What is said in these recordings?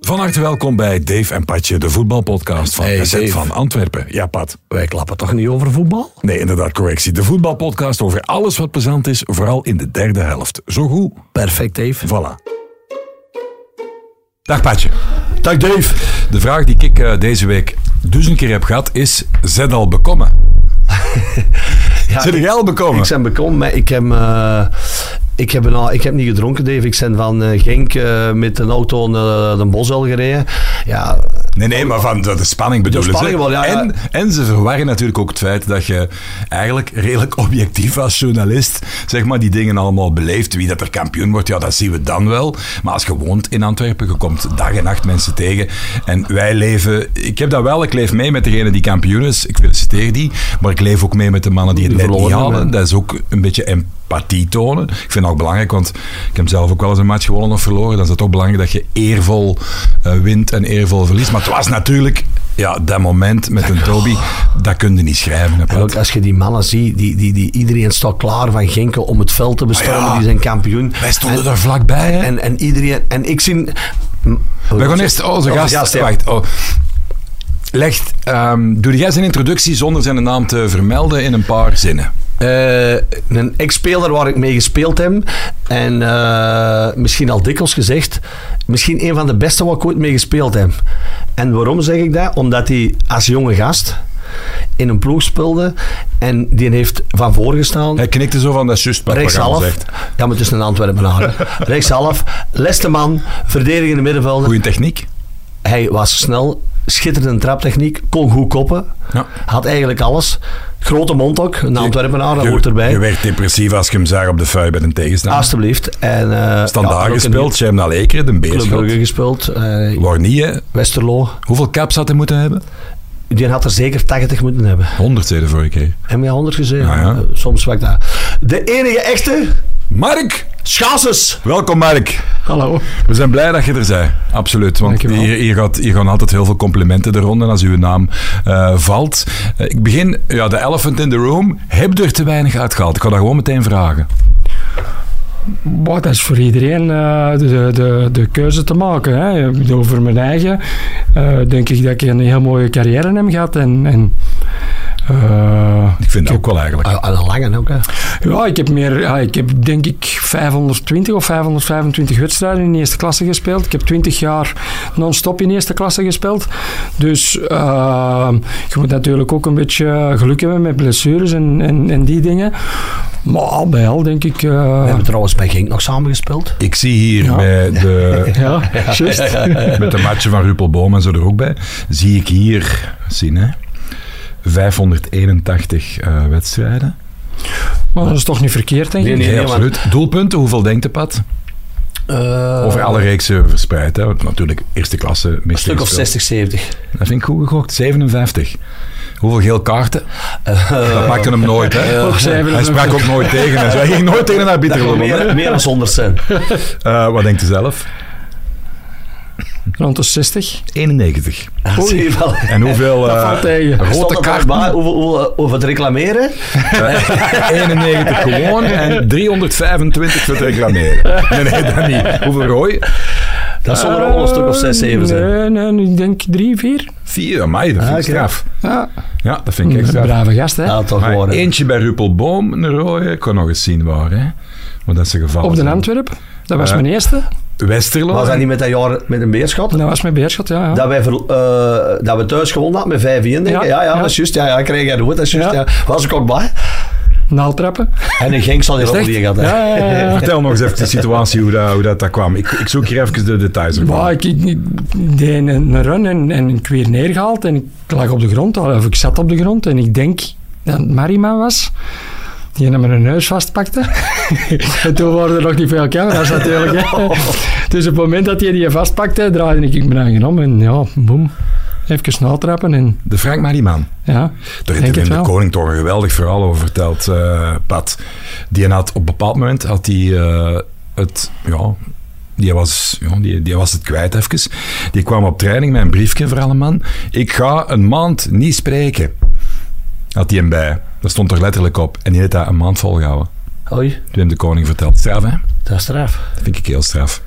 Van harte welkom bij Dave en Patje, de voetbalpodcast van Hey, SZ Dave. van Antwerpen. Ja, Pat. Wij klappen toch niet over voetbal? Nee, inderdaad, correctie. De voetbalpodcast over alles wat plezant is, vooral in de derde helft. Zo goed. Perfect, even. Voilà. Dag Patje. Dag Dave. De vraag die ik eh, deze week duizend keer heb gehad is, zet al bekomen? Ja, Zit jij al bekomen? Ik ben bekomen, maar ik heb, eh, ik, heb een, al- ik heb niet gedronken, Dave. Ik ben van eh, Genk eh, met een auto naar eh, de Bosuil gereden. Ja, Nee, nee, maar van de, de spanning bedoelen spanning ze. wel, ja, ja. En, en ze verwarren natuurlijk ook het feit dat je eigenlijk redelijk objectief als journalist zeg maar, die dingen allemaal beleeft. Wie dat er kampioen wordt, ja, dat zien we dan wel. Maar als je woont in Antwerpen, je komt dag en nacht mensen tegen. En wij leven... Ik heb dat wel, ik leef mee met degene die kampioen is. Ik feliciteer die. Maar ik leef ook mee met de mannen die het Die net niet verloren halen. hebben. Dat is ook een beetje empathie tonen. Ik vind dat ook belangrijk, want ik heb zelf ook wel eens een match gewonnen of verloren. Dan is het ook belangrijk dat je eervol eh, wint en eervol verliest. Maar het was natuurlijk, ja, dat moment met een Toby, dat kun je niet schrijven. hè, en ook Pat. als je die mannen ziet, die, die, die, iedereen staat klaar van Genk om het veld te bestormen. Ah ja. Die zijn kampioen. Wij stonden en, er vlakbij, hè. en, en iedereen... En ik zie... We gaan eerst... Oh, onze gast. ja. Wacht, oh. Legt, ehm, doe jij zijn introductie zonder zijn naam te vermelden in een paar zinnen? Eh, een ex-speler waar ik mee gespeeld heb. En eh, misschien al dikwijls gezegd, misschien een van de beste waar ik ooit mee gespeeld heb. En waarom zeg ik dat? Omdat hij als jonge gast in een ploeg speelde. En die heeft van voren gestaan. Hij knikte zo van, dat is juist wat Programma Rechtshalf. zegt. Ja, maar het is een Antwerpenaar. hè. Rechtshalf, leste man, verdedigende middenvelder. Goeie techniek. Hij was snel, schitterende traptechniek, kon goed koppen. Ja. Had eigenlijk alles. Grote mond ook, een Antwerpenaar, dat Je- hoort Je erbij. werd depressief als je hem zag op de vuil bij een tegenstander. Alsjeblieft. En, eh, ja, Standaard en ook gespeeld, Shem Ekeren, de in Club Brugge Beerschot. gespeeld. eh, Waar niet, hè? Westerlo. Hoeveel caps had hij moeten hebben? Die had er zeker 80 moeten hebben. 100 zei de vorige keer. Heb je 100 gezien? Ja, ja. Eh, soms wat dat. De enige echte Mark! schaatsers. Welkom, Mark. Hallo. We zijn blij dat je er bent. Absoluut. Want Dankjewel. hier, hier, gaat, hier gaan altijd heel veel complimenten de ronde als uw naam eh, valt. Eh, ik begin, ja, de elephant in the room. Heb je er te weinig uitgehaald? Ik ga dat gewoon meteen vragen. Boah, dat is voor iedereen eh, de- de, de, de keuze te maken. Hè. Ik bedoel, voor mijn eigen eh, denk ik dat ik een heel mooie carrière heb gehad. En, en, eh, Ik vind dat ook wel eigenlijk. Ah, en een lange ook, hè. ja, ik heb meer, ja, ik heb denk ik 520 of 525 wedstrijden in eerste klasse gespeeld. Ik heb 20 jaar non-stop in eerste klasse gespeeld. Dus eh, je moet natuurlijk ook een beetje geluk hebben met blessures en, en, en die dingen. Maar al bij al denk ik... eh, We hebben trouwens bij Genk nog samen gespeeld. Ik zie hier Ja. bij de, ja, juist. met de matchen van Ruppelboom en zo er ook bij, zie ik hier, zien hè, 581 eh, wedstrijden. Maar dat is toch niet verkeerd, denk ik? Nee, Nee, nee, absoluut. Doelpunten, hoeveel denkt de pad? Eh, Over alle reeksen verspreid. Hè? Want natuurlijk, eerste klasse. Een mist stuk of gespeeld. 60, 70. Dat vind ik goed gegokt. 57. Hoeveel geel kaarten? Eh, dat maakte hem nooit, hè? Ook hij 57. sprak ook nooit tegen. En hij ging nooit tegen een Dat arbiter kan lopen. meer, meer dan 100 zijn. Eh, wat denkt u zelf? Rond de 60. 91. Dat zie je wel. En hoeveel eh, valt tegen. Stond rote dat erbij, kaarten? Hoeveel, hoeveel, hoeveel te reclameren? 91 Eh, gewoon en 325 voor het reclameren. Nee, nee, dat niet. Hoeveel rooi? Dat zullen er ook wel een stuk of 6, 7 zijn. Eh, Nee, nee, ik denk 3, 4. Vier, mij, dat vind ik Ah, oké. Mm, straf. Ja, Ja, dat vind ik een echt straf. brave gast, hè? Ja, toch Maar hoor. hè. eentje bij Ruppelboom, een rode. Ik kon nog eens zien waar, hè. Maar dat is een geval. Op de Antwerp. Dat was Ja. mijn eerste. Westerlo. Was dat niet met dat jaar met een beerschot? Dat was mijn beerschot, ja. ja. Dat, wij ver- eh, dat we thuis gewonnen hadden met 5-1, denk ik. Ja, Ja, ja, ja. dat is juist. Ja, ja, kreeg jij rood, dat is juist. Ja. Ja. Was ik ook bij. Naaltrappen. En een Genk zal je ook Echt? die gehad hè. Ja, ja, ja, ja. Vertel nog eens even de situatie, hoe dat, hoe dat, dat kwam. Ik, ik zoek hier even de details ervan. Bah, ik, ik, ik deed een, een run en, en ik weer neergehaald en ik lag op de grond, of ik zat op de grond en ik denk dat het Marima was. Die hem mijn neus vastpakte. en toen waren er nog niet veel camera's natuurlijk. Hè. Dus op het moment dat hij die vastpakte, draaide ik me eigen om en ja, boem. Even snel trappen en De Frank Mariman. ja. Daar Denk heeft Wim het de wel. Koning toch een geweldig verhaal over verteld, eh, Pat. Die had op een bepaald moment had die, eh, het... Ja, die was, ja, die, die was het kwijt even. Die kwam op training met een briefje voor alle man. Ik ga een maand niet spreken. Had hij hem bij. Dat stond er letterlijk op. En die heeft dat een maand volgehouden. Oei, Wim de Koning vertelt. Straf, hè? dat is straf. Dat vind ik heel straf.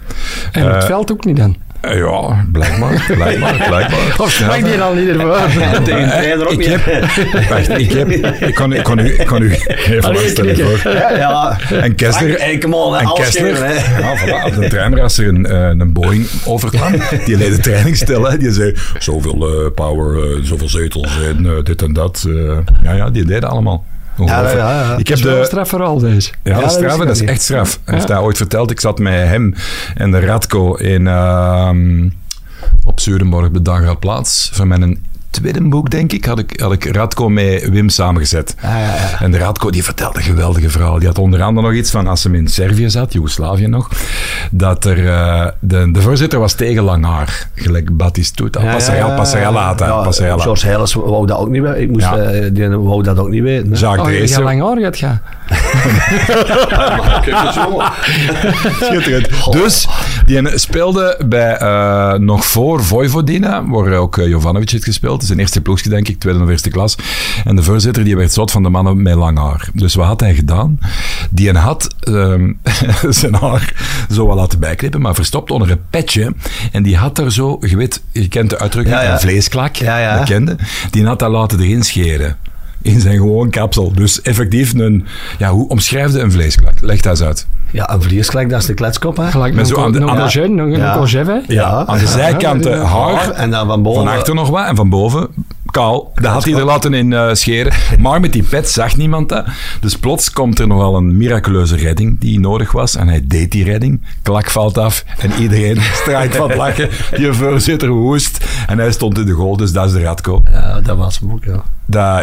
En het Eh, veld ook niet dan. Eh, Ja, blijkbaar. blijkbaar, blijkbaar. Eh, Of sprak die dan niet ervoor? Tegen de trainer ook ik niet. heb, wacht, ik heb, ik kan, ik kan u, ik kan u even Allee, vaststellen knikken. hoor. Ja, ja. En Kessler, Hey, come on, en alles Kessler, geven, hè. ja, voilà, op de trein, als er een, eh, een Boeing overkwam, die leed de training stil. Hè. Die zei, zoveel eh, power, eh, zoveel zetels en eh, dit en dat. eh. ja, ja, die deden allemaal. Ongelooflijk. Ja, ja, ja. Ik heb Dat is wel de, een straf vooral deze. ja, dat dat is straf, wist ik dat is niet. echt straf. Hij heeft dat ooit verteld. Ik zat met hem en de Radko in, ehm, op Zurenborg bij Dangraad Plaats. Van mijn tweede boek, denk ik, had ik, had ik Radko met Wim samengezet. En de Radko die vertelde een geweldige verhaal. Die had onder andere nog iets van, als hem in Servië zat, Joegoslavië nog, dat er, eh, de, de voorzitter was tegen lang haar. Gelijk Ah, Batistuta. Ja, Passarella, Passarellata. Ja, Passarella. George Helles wou dat ook niet weten. Ik moest, Ja. eh, die wou dat ook niet weten. hè. Jacques Oh, je gaat Dreesen. lang hoor, gaat gaan. Schitterend. Dus die speelde bij, eh, nog voor Vojvodina, waar ook eh, Jovanovic heeft gespeeld. Zijn eerste ploegje, denk ik, tweede of eerste klas. En de voorzitter die werd zot van de mannen met lang haar. Dus wat had hij gedaan? Die had ehm, zijn haar zo wel laten bijknippen, maar verstopt onder een petje. En die had daar zo, je weet, je kent de uitdrukking, Ja, ja. een vleesklak, Ja, ja. dat kende. Die had dat laten erin scheren. In zijn gewoon kapsel. Dus effectief een... Ja, hoe omschrijfde een vleesklak? Leg dat eens uit. Ja, een vliersklek, dat is de kletskop. Hè? Gelijk Met met zo aan zo'n de- aan de- colgé, nog Ja. een colgé, hè. Ja. Aan de zijkanten ja. haar, En dan van boven. van achter nog wat en van boven kaal. Dat had hij er laten in eh, scheren. Maar met die pet zag niemand dat. Dus plots komt er nogal een miraculeuze redding die nodig was. En hij deed die redding. Klak valt af en iedereen straalt van het lachen. Je voorzitter hoest. En hij stond in de goal, dus dat is de Radko. Dat, Ja, dat was hem ook, ja.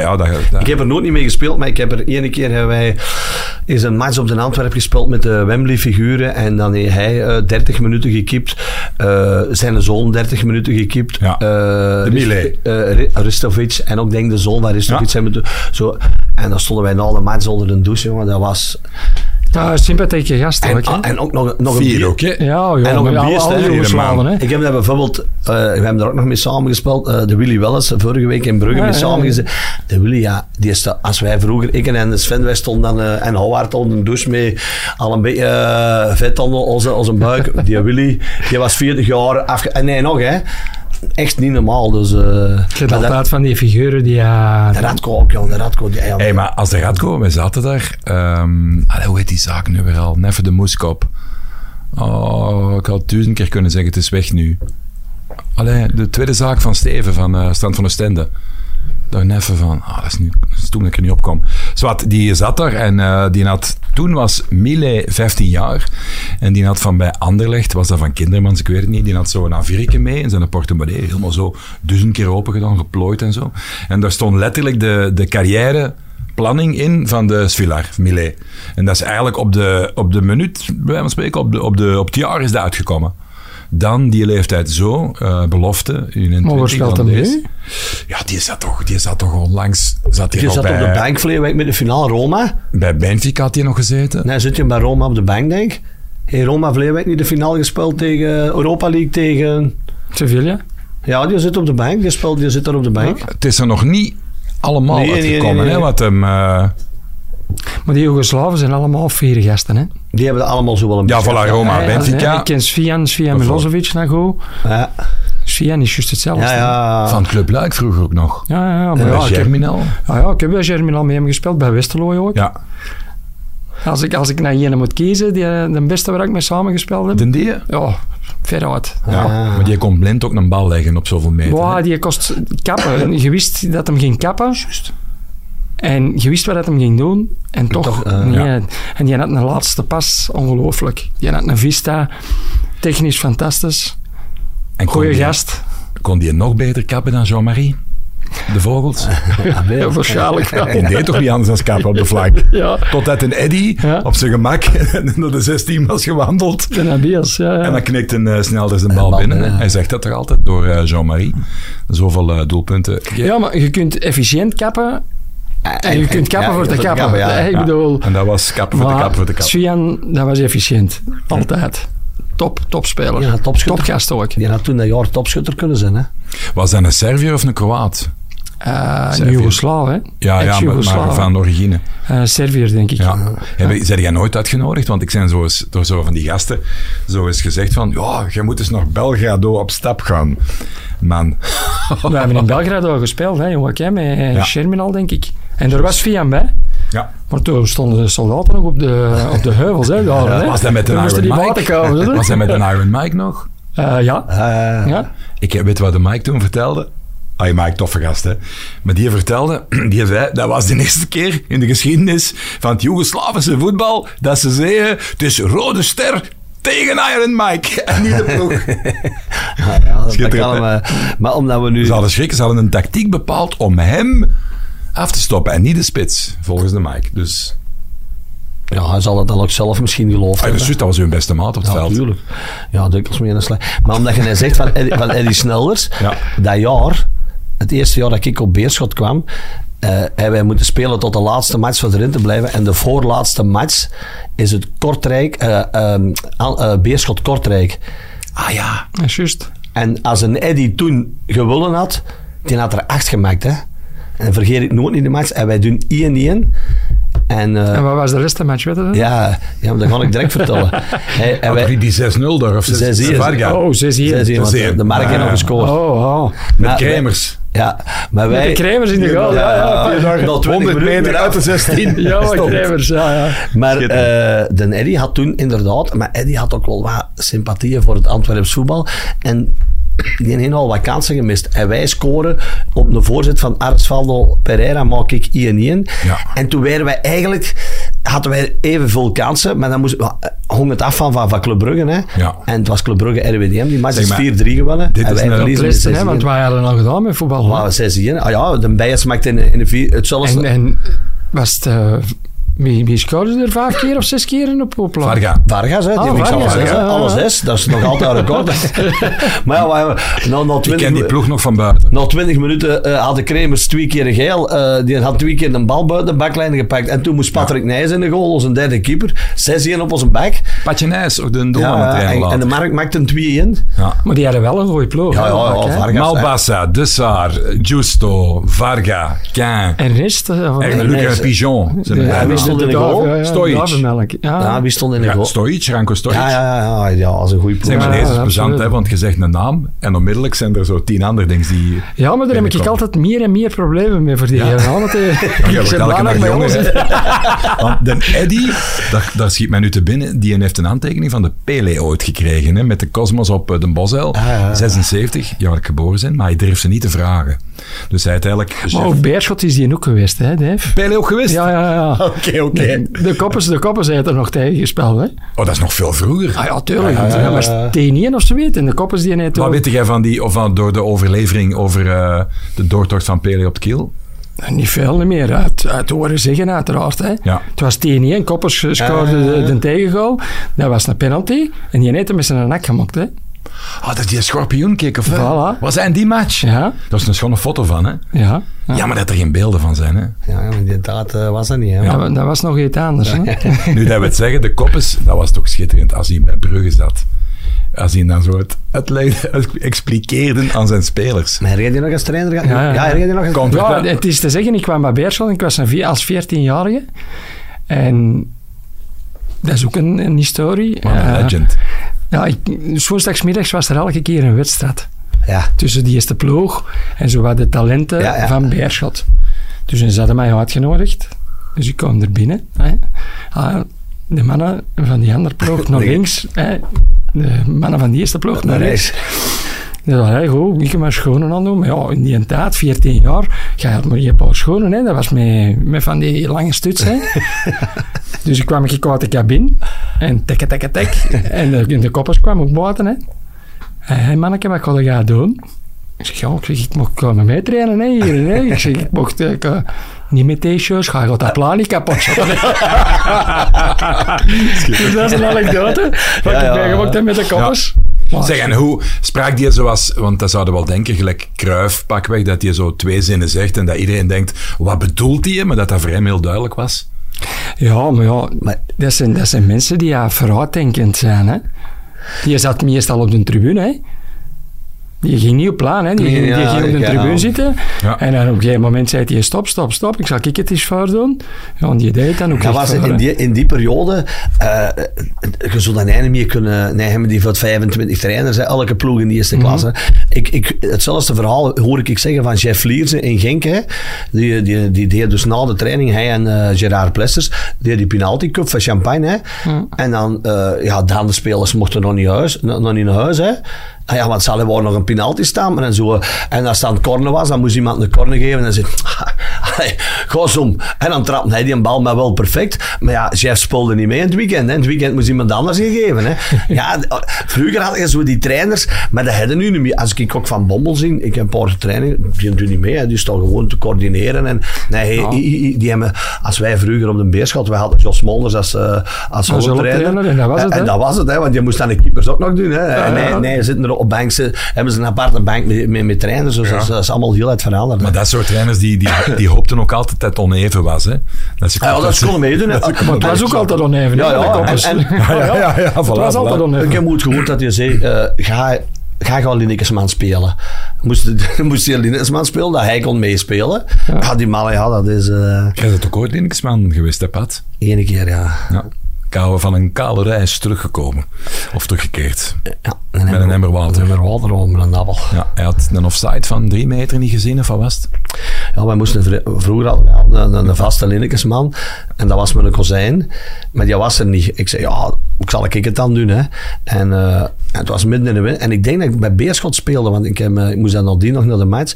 ja, dat, dat- Ik heb er nooit niet mee gespeeld, maar ik heb er ene keer hebben wij is een match op de Antwerp gespeeld met de Wembley-figuren. En dan heeft hij eh, 30 minuten gekipt. eh, zijn zoon 30 minuten gekipt. Ja. eh, De Mille. eh, Ri- Ristovic en ook denk de zoon van Ristovic. Ja. zijn moeten- zo. En dan stonden wij na de match onder een douche, jongen. Dat was... Ja, sympathieke gasten En, ook, hè. ah, en ook nog, nog een vier bier- ook, hè? Ja, en nog joh, een alle- beest, alle hè, Joegoslaven, hè. Ik heb daar bijvoorbeeld, eh, we hebben daar ook nog mee samengespeeld, eh, de Willy Welles, vorige week in Brugge Ja, mee ja, ja. samengezet. De Willy, ja, die is de- als wij vroeger, ik en Sven, wij stonden dan, eh, en Howard onder een douche mee, al een beetje eh, vet onder onze, onze buik. Die Willy, die was 40 jaar afge... eh, Nee, nog hè. Echt niet normaal, dus... eh Ik heb maar dat- altijd van die figuren die... ja. de Radko ook, jongen, de Radko. Die, ja, Hé, maar als de Radko, wij zaten daar. ehm, allee, hoe heet die zaak nu weer al? Neffe de Moeskop. Oh, ik had duizend keer kunnen zeggen, het is weg nu. Allee, de tweede zaak van Steven van eh Stand van Oostende. Daar Neffe van. Ah, dat is, nu, dat is toen dat ik er niet op kwam. Zwat, die zat daar en eh, die had... Toen was Mile 15 jaar. En die had van bij Anderlecht, was dat van Kindermans, ik weet het niet. Die had zo'n avirike mee in zijn portemonnee. Helemaal zo duizend keer open gedaan, geplooid en zo. En daar stond letterlijk de, de carrière planning in van de Svilar, Millet. En dat is eigenlijk op de, op de minuut, bij wijze van spreken, op, de, op, de, op het jaar is dat uitgekomen. Dan die leeftijd zo, eh, belofte. In een Maar waar speelt hem nu? Ja, die zat toch, die zat toch onlangs. Zat die die nog zat op bij, de bank verleden week met de finale Roma. bij Benfica had hij nog gezeten. Nee, zit je bij Roma op de bank, denk ik. Heeft Roma verleden week niet de finale gespeeld tegen Europa League tegen... Sevilla. Ja, die zit op de bank. Die speelt, die zit daar op de bank. Het is er nog niet allemaal Nee, nee, uitgekomen, nee, nee, hè? nee. Wat hem. eh, Maar die Joegoslaven zijn allemaal vier gasten, hè. Die hebben dat allemaal zo wel een ja, beetje. voilà, Roma, Ja, Benfica. Ik ken Svian, Svian Bijvoorbeeld. Milosevic nog goed. Ja, Svian is juist hetzelfde. ja. hè. ja. Van Club Luik vroeger ook nog. Ja, ja, ja, maar En bij ja, ik heb, ah, Germinal. ja, ja, ik heb bij Germinal mee hem gespeeld, bij Westerlo ook. Ja. Als, ik, als ik naar jene moet kiezen, die, eh, de beste waar ik mee samengespeeld heb, Den die? Ja. ja, veruit. Maar die kon blind ook een bal leggen op zoveel meter. hè? Wow, die kost kappen. Je wist dat hem ging kappen. En je wist wat dat hem ging doen. En toch, eh, nee. ja. En die had een laatste pas, ongelooflijk. Die had een vista, technisch fantastisch. En kon Goeie die- gast. Kon die nog beter kappen dan Jean-Marie? De vogels? Ja, waarschijnlijk wel. Die deed toch niet anders dan kappen op de flank? Ja, Totdat een Eddy Ja. op zijn gemak naar de 16 was gewandeld. de Nabias. Ja, En ja. dan knikt een eh, snelder zijn bal bal binnen. binnen, ja. Hij zegt dat toch altijd door eh, Jean-Marie. Zoveel eh, doelpunten. ja, maar je kunt efficiënt kappen. En je kunt kappen ja, voor te voor te kappen. kappen, ja. Ik Ja. bedoel... En dat was kappen voor de maar kap voor de kap. Svian, dat was efficiënt. Altijd. Top, topspeler. Ja, topschutter. Topgast ook. Die had toen dat jaar topschutter kunnen zijn, hè. Was dat een Serviër of een Kroaat? eh Servië. een Joegoslaaf, hè? Ja, ja maar, maar Ex-Joegoslaaf. van origine. Eh, Serviër, denk ik. Ja. Heb, zijn jij nooit uitgenodigd? Want ik zijn zo eens, door zo van die gasten zo eens gezegd van ja, jij moet eens naar Belgrado op stap gaan. Man. We hebben in Belgrado gespeeld, hè, Joachim en Ja. Sherminal, denk ik. En er was Fiam bij. Ja. Maar toen stonden de soldaten nog op de, op de heuvels. Hè, daar, hè. Was dat met Toen een moesten Iron die Mike? water komen. hè. Was dat met een Iron Mike nog? Eh, ja. Ah, ja. Ik heb- weet wat de Mike toen vertelde. Ah, Mike, toffe gast, hè. Maar die vertelde, die zei, dat was de eerste keer in de geschiedenis van het Joegoslavische voetbal dat ze zeiden, het is Rode Ster tegen Iron Mike. En niet de ploeg. ja, dat Schitterend, kan, hè? maar, maar omdat we nu... Ze hadden schrik, ze hadden een tactiek bepaald om hem af te stoppen en niet de spits, volgens de Mike. Dus Ja, hij zal het dan ook zelf misschien geloofd ah, hebben. dus, dat was hun beste maat op het Ja, veld. natuurlijk. Ja, dikwijls meer een slag. Maar omdat je net zegt van Eddie, van Eddie Snelders, Ja. dat jaar, het eerste jaar dat ik op Beerschot kwam, eh, hebben wij moeten spelen tot de laatste match voor erin te blijven. En de voorlaatste match is het Kortrijk, eh, ehm, Al- eh, Beerschot-Kortrijk. Ah ja. Dat is juist. En als een Eddy toen gewonnen had, die had er acht gemaakt. Hè? En vergeet ik nooit niet de match. En wij doen 1-1. En, eh, En wat was de rest van de match, weet je dat? ja, ja, maar dat ga ik direct vertellen. Hey, en Had wij, toch niet die 6-0 daar, of 6 Zes hier. Varga. Oh, 6 hier. Zes hier, want Zes hier. de Mark heeft nog Ah. gescoord. Oh, oh. Met Maar- Kremers. Ja, maar wij... De Kremers in de goal. Ja, ja. ja, ja. Nog 20 minuten. de 16. Ja, maar Stop. Kremers, ja, ja. Maar Schitterend. eh, Den Eddy had toen inderdaad, maar Eddy had ook wel wat sympathieën voor het Antwerps voetbal. En die heeft al wat kansen gemist. En wij scoren op de voorzet van Arsvaldo Pereira, maak ik 1-1. Ja. En toen werden wij eigenlijk, hadden wij evenveel kansen, maar dan moest, wa- eh, hong het af van, van, van Club Brugge. Hè. Ja. En het was Club Brugge RWDM, die match Zeg is 4-3 maar, gewonnen. dit en is wij een verliezen met Lessen, hè, want 6-1. wij hadden al gedaan met voetbal. hè. Maar we 6-1. Ah ja, de Bijes maakte in, in de vier, hetzelfde. En, en was het... eh, wie, wie scoorde er vijf keer of zes keer in op op laag? Varga. Vargas, hè? Die Ah, heeft niks aan Vargas, alles, ja, hè. ja, ja. Alles is, dat is nog altijd een record. maar ja, maar, nou, na, Ik 20, ken die mi- ploeg nog van buiten. na 20 minuten eh, had de Kremers twee keer een geel. eh, die had twee keer een bal buiten de baklijn gepakt. En toen moest Patrick Nijs in de goal, onze derde keeper. 6-1 op onze bek. Patje Nijs, ook de doelman Ja, het einde en, en laat. de Mark maakte een 2-1. Ja. Maar die hadden wel een goede ploeg. Ja, hè, ja, ja, Mark, hè. Vargas. Malbassa, De Saar, Justo, Varga, Kain, En rest... eh, van- en Luc nee, en ze- Pigeon. zijn er Ja, bijna. wist het- de in de duif, goal. ja, ja, Stojic. duivenmelk. Ja. Ja, wie stond in de Ah. Ja, goal? Stojic, Ranko Stojic. Ja, ja, ja, ja, ja, dat is een goede Zeg ploeg. maar, Ja, deze is plezant, absoluut. hè, want je zegt een naam en onmiddellijk zijn er zo tien andere dingen die... Ja, maar daar heb ik Binnenkomen. altijd meer en meer problemen mee voor die ja. Want, eh, Ja, ik wordt ben elke blij dat dag ik bij jonger, ons hè. Want de Eddy, daar, daar schiet mij nu te binnen, die heeft een handtekening van de Pele ooit gekregen. Hè, met de Cosmos op eh, de Bosuil. Ah, ja, ja. 76, jaar dat ik geboren ben, maar hij durft ze niet te vragen. Dus hij heeft eigenlijk... Maar ook Beerschot is die ook geweest, hè, Dave? Pele ook geweest? Ja, ja, ja. Oké, oké. De koppers, de koppers zijn er nog tegen gespeeld, hè? Oh, dat is nog veel vroeger. Ah ja, tuurlijk. want Dat was 10-1 of zo weet. En de koppers die net Wat ook- weet jij van die, of van, door de overlevering over eh, de doortocht van Pele op de kiel? Niet veel meer. Uit, uit horen zeggen, uiteraard. Hè. Ja. Het was 10-1. Koppers scoorde de, de tegengoal. Dat was een penalty. En die net hem met zijn nek gemaakt, hè? Ah, dat is die schorpioen kick of wat? Voilà. Was hij in die match? Ja, Dat is een schone foto van, hè? ja. ja. Jammer dat er geen beelden van zijn, hè? Ja, ja, inderdaad eh, was dat niet. Hè? Dat, dat was nog iets anders, hè? Nu dat we het zeggen, de koppes, dat was toch schitterend als hij bij Brugge zat. Als hij dan zo het uitlegde, het expliqueerde aan zijn spelers. Maar herinner je die nog als trainer? Ja, Ja, ja. herinner je die nog als Komt Ja, het is te zeggen, ik kwam bij Beerschot en ik was een vi- als 14-jarige. En dat is ook een, een historie. Man, een Eh, legend. ja, ik, dus woensdagsmiddags was er elke keer een wedstrijd Ja. tussen die eerste ploeg en zo wat de talenten Ja, ja. van Beerschot. Dus ze hadden mij uitgenodigd. Dus ik kwam er binnen. Hè. Ah, de mannen van die andere ploeg naar Nee. links. Hè. De mannen van die eerste ploeg naar rechts. Ja, hey, goed, ik heb maar schoenen aan doen. Maar ja, in die tijd, 14 jaar, ga je had maar een paar schoenen. Hè. Dat was met, met van die lange stuts. Hè. dus ik kwam ik uit de cabine. En tikke, tikke, tik. en de, en de koppers kwamen ook buiten. Hè. Hé hey, manneke, wat ga je doen? Ik zeg, ja, ik, zeg, ik eh, mocht komen meetrainen hè, hier. Hè. Ik zeg, ik mocht eh, ik, eh, niet met t-shirts gaan, gaat dat plan niet kapot. dus dat is een anekdote. Wat Ja, ik ja. meegemaakt heb met de koppers. Maar- Zeg, en hoe sprak die zoals... Want dat zouden we wel denken, gelijk Kruif pakweg, dat hij zo twee zinnen zegt en dat iedereen denkt, wat bedoelt hij? Maar dat dat voor hem heel duidelijk was. Ja, maar ja, Maar- dat, zijn, dat zijn mensen die ja, vooruitdenkend zijn. Hè? Die zat meestal op de tribune. Hè? Die ging niet op plan, hè. Die, Nee, ging, die ja, ging op de ik ken tribune hem. zitten. Ja. En dan op een gegeven moment zei hij, stop, stop, stop. Ik zal ik het eens voordoen. Ja, en die deed het dan ook Dat echt was voor, hè. in, die, in die periode, eh je zou dan niet meer kunnen, nee, hebben die van 25 trainers, hè, elke ploeg in de eerste Mhm. klasse. ik, ik, hetzelfde verhaal hoor ik, ik zeggen van Jeff Liersen in Genk, hè, die, die, die deed dus na de training, hij en eh, Gerard Plessers, deed die penalty cup van Champagne. Hè, Mhm. En dan, eh, ja, de andere spelers mochten nog niet, huis, nog nog niet naar huis, hè. Ah ja, want ze hadden wel nog een penalty staan. En, zo. en als het aan het corner was, dan moest iemand een corner geven. En dan zei hij, ga zo. En dan trapte hij die bal maar wel perfect. Maar ja, Jeff speelde niet mee in het weekend. Hè. In het weekend moest iemand anders gegeven. Hè. Ja, d- vroeger had je zo die trainers, maar dat hadden nu niet meer. Als ik ook van Bommel zie, ik heb een paar trainingen, die doen niet mee. Hè. Die staan gewoon te coördineren. En, nee, i- i- i- die hebben, als wij vroeger op de beerschot, wij hadden Jos Molders als, eh als Als hoofdtrainer. hoofdtrainer, en dat was het, En hè. dat was het, hè, want je moest dan de keepers ook nog doen. Hè. en ja. nee, nee, zitten er op bank, ze, hebben ze een aparte bank met, met, met trainers. Dus dat, is, dat is allemaal heel uit veranderd. hè. Maar dat soort trainers, die, die, die hoopten ook altijd dat het oneven was. Hè? Dat ze, Ah, ja, dat ze konden meedoen. hè. Ah, dat ze Maar het konden was ook altijd oneven. hè, Ja, ja, met de koppers. en- en- Ja, ja, ja, ja, Het voilà, was voilà. altijd oneven. Ik heb goed gehoord dat je zei, eh, ga, ga gewoon Linnekesman spelen. Moest, moest je Linnekesman spelen, dat hij kon meespelen. Ja. die man, ja, dat is eh Jij bent ook ooit Linksman geweest, hè, Pat? ene keer, ja. Ja. Kouwen van een kale reis teruggekomen. Of teruggekeerd. ja Met een emmer water. Een emmer water om een appel. Ja, hij had een offside van drie meter niet gezien, of wat was het? Ja, wij moesten vri- vroeger al wel een, een vaste linnekesman. En dat was met een kozijn. Maar die was er niet. Ik zei, ja, hoe zal ik het dan doen? Hè? En eh, het was midden in de winter. En ik denk dat ik bij Beerschot speelde. Want ik, heb, eh, ik moest dan nadien nog naar de match.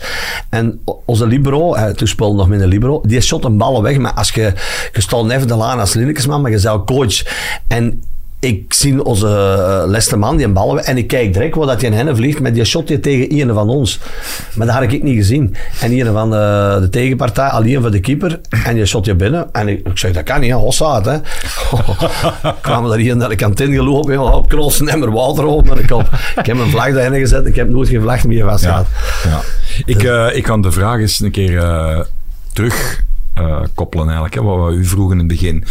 En o- onze libero, eh, toen speelde nog met een libero. Die shot een bal weg. Maar als je, je stond even de laan als linnekesman. Maar je zou coach. En ik zie onze eh, leste man die een bal hebben en ik kijk direct waar dat je in hen vliegt met die shot die tegen een van ons. Maar dat had ik niet gezien. En een van eh, de, de tegenpartij, alleen van de keeper, en je shot je binnen. En ik, ik zeg, dat kan niet, hè, Hossaat. Hè. kwamen er hier naar de kantine gelopen, joh, op knossen en er water op mijn kop. Ik heb mijn vlag daarin gezet, ik heb nooit geen vlag meer vastgehad. Ja. Ik, eh, ik kan de vraag eens een keer eh, terug eh, koppelen eigenlijk, hè, wat we u vroegen in het begin.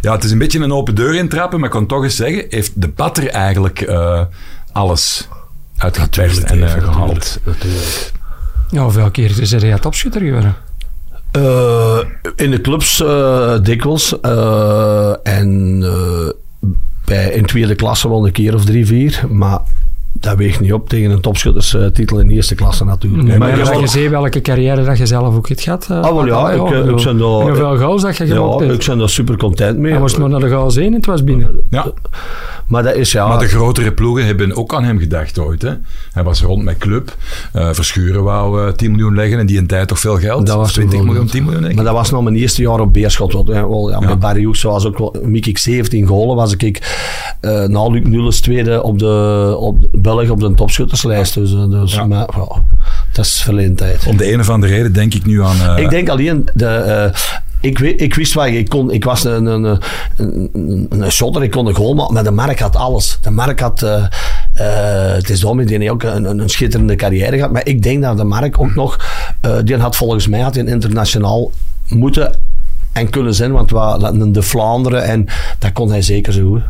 Ja, het is een beetje een open deur intrappen, maar ik kan toch eens zeggen, heeft de batter eigenlijk eh, alles uitgeperst en eh, gehaald? Ja, hoeveel keer is hij topschutter geworden? Eh, in de clubs eh, dikwijls. eh, en eh, bij, in tweede klasse wel een keer of drie, vier. Maar dat weegt niet op tegen een topschutterstitel in de eerste klasse natuurlijk. maar Nee, maar je je hebt wel- gezien welke carrière dat je zelf ook hebt gehad. eh, Ah, wel ja, ik, Allee, eh, ik bedoel, ben daar- en hoeveel goals dat je gemaakt ja, hebt. ik ben daar super content mee. Hij moest maar naar de goals heen en het was binnen. Ja, Maar dat is ja... maar de grotere ploegen hebben ook aan hem gedacht ooit. Hè? Hij was rond met club. Eh, Verschuren wou eh, 10 miljoen leggen en die in tijd toch veel geld. Dat was 20 toen wel miljoen, goed. 10 miljoen denk ik. Maar dat was nog mijn eerste jaar op Beerschot. Wat, eh, wel, ja, Met Barry Hoeks was ook wel, mik ik 17 golen, was ik eh na Luc Nulles tweede op de, op de Belg op de topschutterslijst. Dus, eh, dus maar, ja, dat is verleden tijd. Om de een of andere reden denk ik nu aan... eh, Ik denk alleen, de, eh, ik, wi- ik wist waar ik ik kon. Ik was een, een, een, een, een shotter, ik kon een goal maken, maar de Mark had alles. De Mark had, eh, eh, het is dom, die heeft ook een, een, een schitterende carrière gehad, maar ik denk dat de Mark ook nog, eh, die had volgens mij had een internationaal moeten en kunnen zijn, want we hadden de Vlaanderen en dat kon hij zeker zo goed.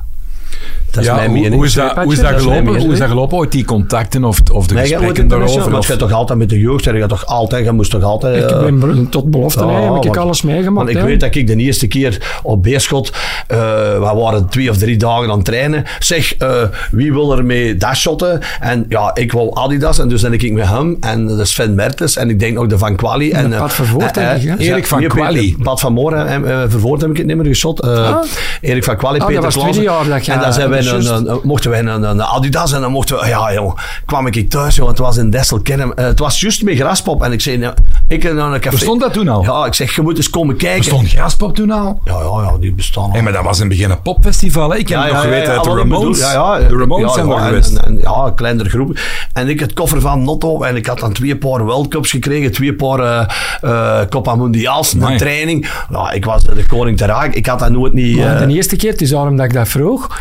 Dat is ja, mijn hoe, mening. hoe is dat, Patje, hoe is dat dat is mijn gelopen? mening. Hoe is dat gelopen? Ooit die contacten of, of de Nee, jij wordt gesprekken internationaal, daarover? maar Of, je hebt toch altijd met de jeugd, je hebt toch altijd, je moest toch altijd... Ik eh, ben be- tot belofte Ja, nee, heb ik want- alles meegemaakt. Want ik hè. weet dat ik de eerste keer op Beerschot, eh we waren twee of drie dagen aan het trainen. Zeg, eh, wie wil er mee dashotten? En ja, ik wou Adidas en dus ben ik met hem en de Sven Mertens en ik denk ook de Van Quali. En, de eh, Pat Vervoort, eh, denk ik, hè? eh, Erik van nee, Peter- Quali. Pat van Moren en eh, Vervoort heb ik het niet meer geschot. Eh, Erik van Quali, Oh. dat Peter was het Klaassen. tweede jaar dat je- En dan zijn wij een- juist. een- een- mochten wij een, een- een Adidas en dan mochten we... Ja, jong, kwam ik thuis, joh, het was in Desselkerm. Eh, het was juist met Graspop en ik zei... nou, Ik en dan een café... Bestond dat toen al? Ja, ik zeg, je moet eens komen kijken. Bestond Graspop toen al? Ja, ja, ja, die bestaan al. Hé, maar dat was in het begin een popfestival. Hè? Ik heb ja, het nog geweten uit de wat ik bedoel. Ramones. Ja, ja, de Ramones ja, zijn ja, daar en- geweest. en- en- ja, een kleinere groep. En ik het koffer van Notto en ik had dan twee paar World Cups gekregen, twee paar eh eh, Copa Mundials, Amai. een training. Ja, ik was de koning te raak. Ik had dat nooit niet... Maar eh, de eerste keer, het is daarom dat ik dat vroeg.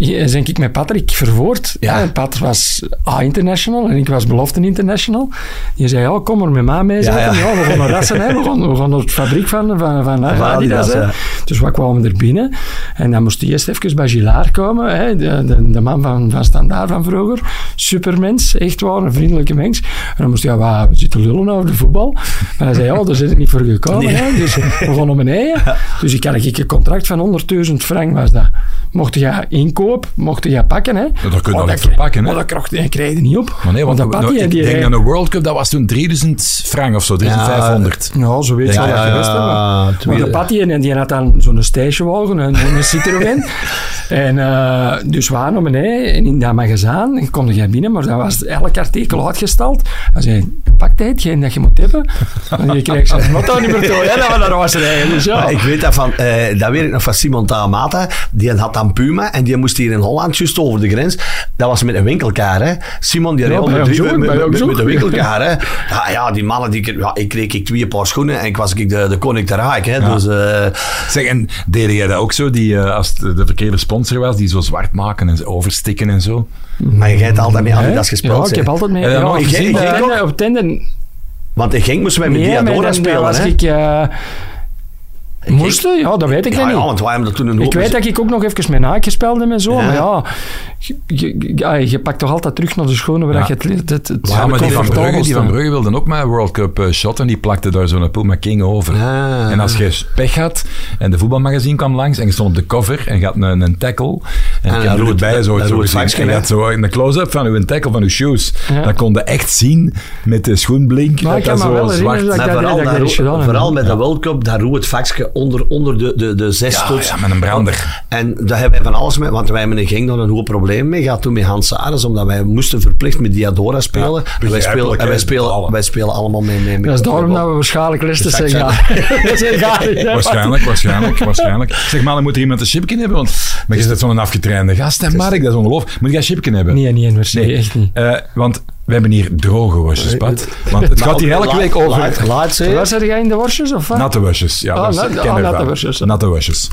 Ja, zijn ik met Patrick verwoord. Ja. Ja. Pat was A-international en ik was belofte international. Je zei, ja, kom er met mij mee zitten. Ja, Ja, ja. we gaan naar rassen, hè. We, gaan, we gaan naar de fabriek van, van, van Adidas. Adidas, hè. ja. Dus we kwamen er binnen en dan moest hij eerst even bij Gilaar komen. Hè. De, de, de man van, van Standaard van vroeger. Supermens, echt waar, een vriendelijke mens. En dan moest hij, ja, we zitten lullen over de voetbal. Maar hij zei, ja, daar zit ik niet voor gekomen. Hè. Dus we gaan naar beneden. Dus ik had een contract van 100.000 frank was dat. Mocht je inkoop, mocht je pakken. Hè. kun je Oh, wel echt kre- verpakken, hè. Maar dat kreeg je- kreeg je niet op. Maar nee, want dat nou, Patty, ik die- denk aan de World Cup, dat was toen 3000 frank of zo, 3500. nou, zo weet je Ja, wel wat je best hebben. Maar de tuurlijk. Patty, en die had dan zo'n stagewagen, een, een Citroën. en eh, dus waar naar beneden, en in dat magazijn, kom jij binnen, maar dat was elk artikel uitgestald. Hij zei, pak dit, hetgeen dat je moet hebben. En je krijgt zijn motto niet meer Ah, toe, hè, dat we naar was rijden. Dus ja. Maar ik weet dat van, eh, dat weet ik nog van Simon Taamata. Die had dan Puma en die moest hier in Holland, juist over de grens. Dat was met een winkelkaar, hè. Simon, die reed bij onder ons drie ook, met, bij met, ons met, ook. een winkelkaar, hè. Ja, ja, die mannen, die, ja, ik kreeg ik twee paar schoenen en ik was ik de, de koning ter haak, hè. Dus, eh, Zeg, en deed jij dat ook zo, die, eh, als het de verkeerde sponsor was, die zo zwart maken en zo overstikken en zo? maar jij hebt altijd met Hè? Adidas gespeeld, Eh, Ja, ik hè. heb altijd mee. Ja, Ja, dat mag op je Tinder- zien, hè? op Tinder- op Tinder Want in Genk moesten wij met Nee, maar Diadora dan- dan spelen, was hè. ik... eh, moesten? Ja, dat weet ik ja, dan ja, niet. want wij hebben dat toen een Ik weet dat ik ook nog even mijn haakjes speelde en zo, Ja. maar ja, je, je- ja, je pakt toch altijd terug naar de schone waar Ja. je het... het, het, het Ja, maar die van, comfortabel Brugge, die van staat. Brugge wilden ook maar een World Cup eh, shot en die plakte daar zo'n Puma King over. Ah. En als je pech had en de voetbalmagazine kwam langs en je stond op de cover en je had een, een tackle en dan ik heb er roeit- ook bij zo, dan zo roeit gezien, Vaksken, en je hè? had zo een close-up van uw tackle van uw shoes. Ja. Dat kon je echt zien met de schoenblink Maar dat ik kan dat me zo wel herinneren zwart... dat ik Maar vooral, dat ik daar dat roe- eens gedaan heb. vooral met de World Cup, daar roe het vakje onder, onder de, de, de zes Ja, tot. ja, met een brander. En daar hebben wij van alles mee, want wij hebben in Genk daar een hoop probleem mee gehad toen met Hans Ares, omdat wij moesten verplicht met Diadora spelen. en wij spelen, begrijpelijk, en wij hè, spelen, alle. wij spelen allemaal mee. mee, mee Dat is daarom dat we waarschijnlijk listig zijn Ja, gaan. Dat zijn gaan, hè, Waarschijnlijk, waarschijnlijk, waarschijnlijk. Zeg maar, dan moet er iemand een chipkin hebben, want maar je zit zo'n afgetrainde gast. En Mark, dat is ongelooflijk. Moet jij een chipkin hebben? Nee, niet in Mercedes, echt niet. Eh, want we hebben hier droge wasjes, Pat. Want het Maar gaat hier ook elke Nou, laat- week over laat- laat ze- Waar zit jij in de worstjes of wat? natte wasjes. Ja, Oh, dat is- nat- ik ken oh, ervan. natte wasjes. Natte wasjes.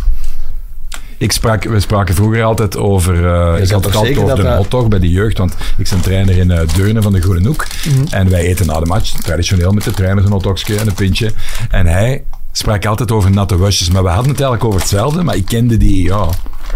Ik sprak, we spraken vroeger altijd over... eh, ik zat had toch het altijd zeker over dat de dat- hotdog bij de jeugd, want ik ben trainer in eh, Deurne van de Groene Hoek. En wij eten na de match, traditioneel met de trainers, een hotdogje en een pintje. En hij sprak altijd over natte wasjes, maar we hadden het eigenlijk over hetzelfde, maar ik kende die, ja...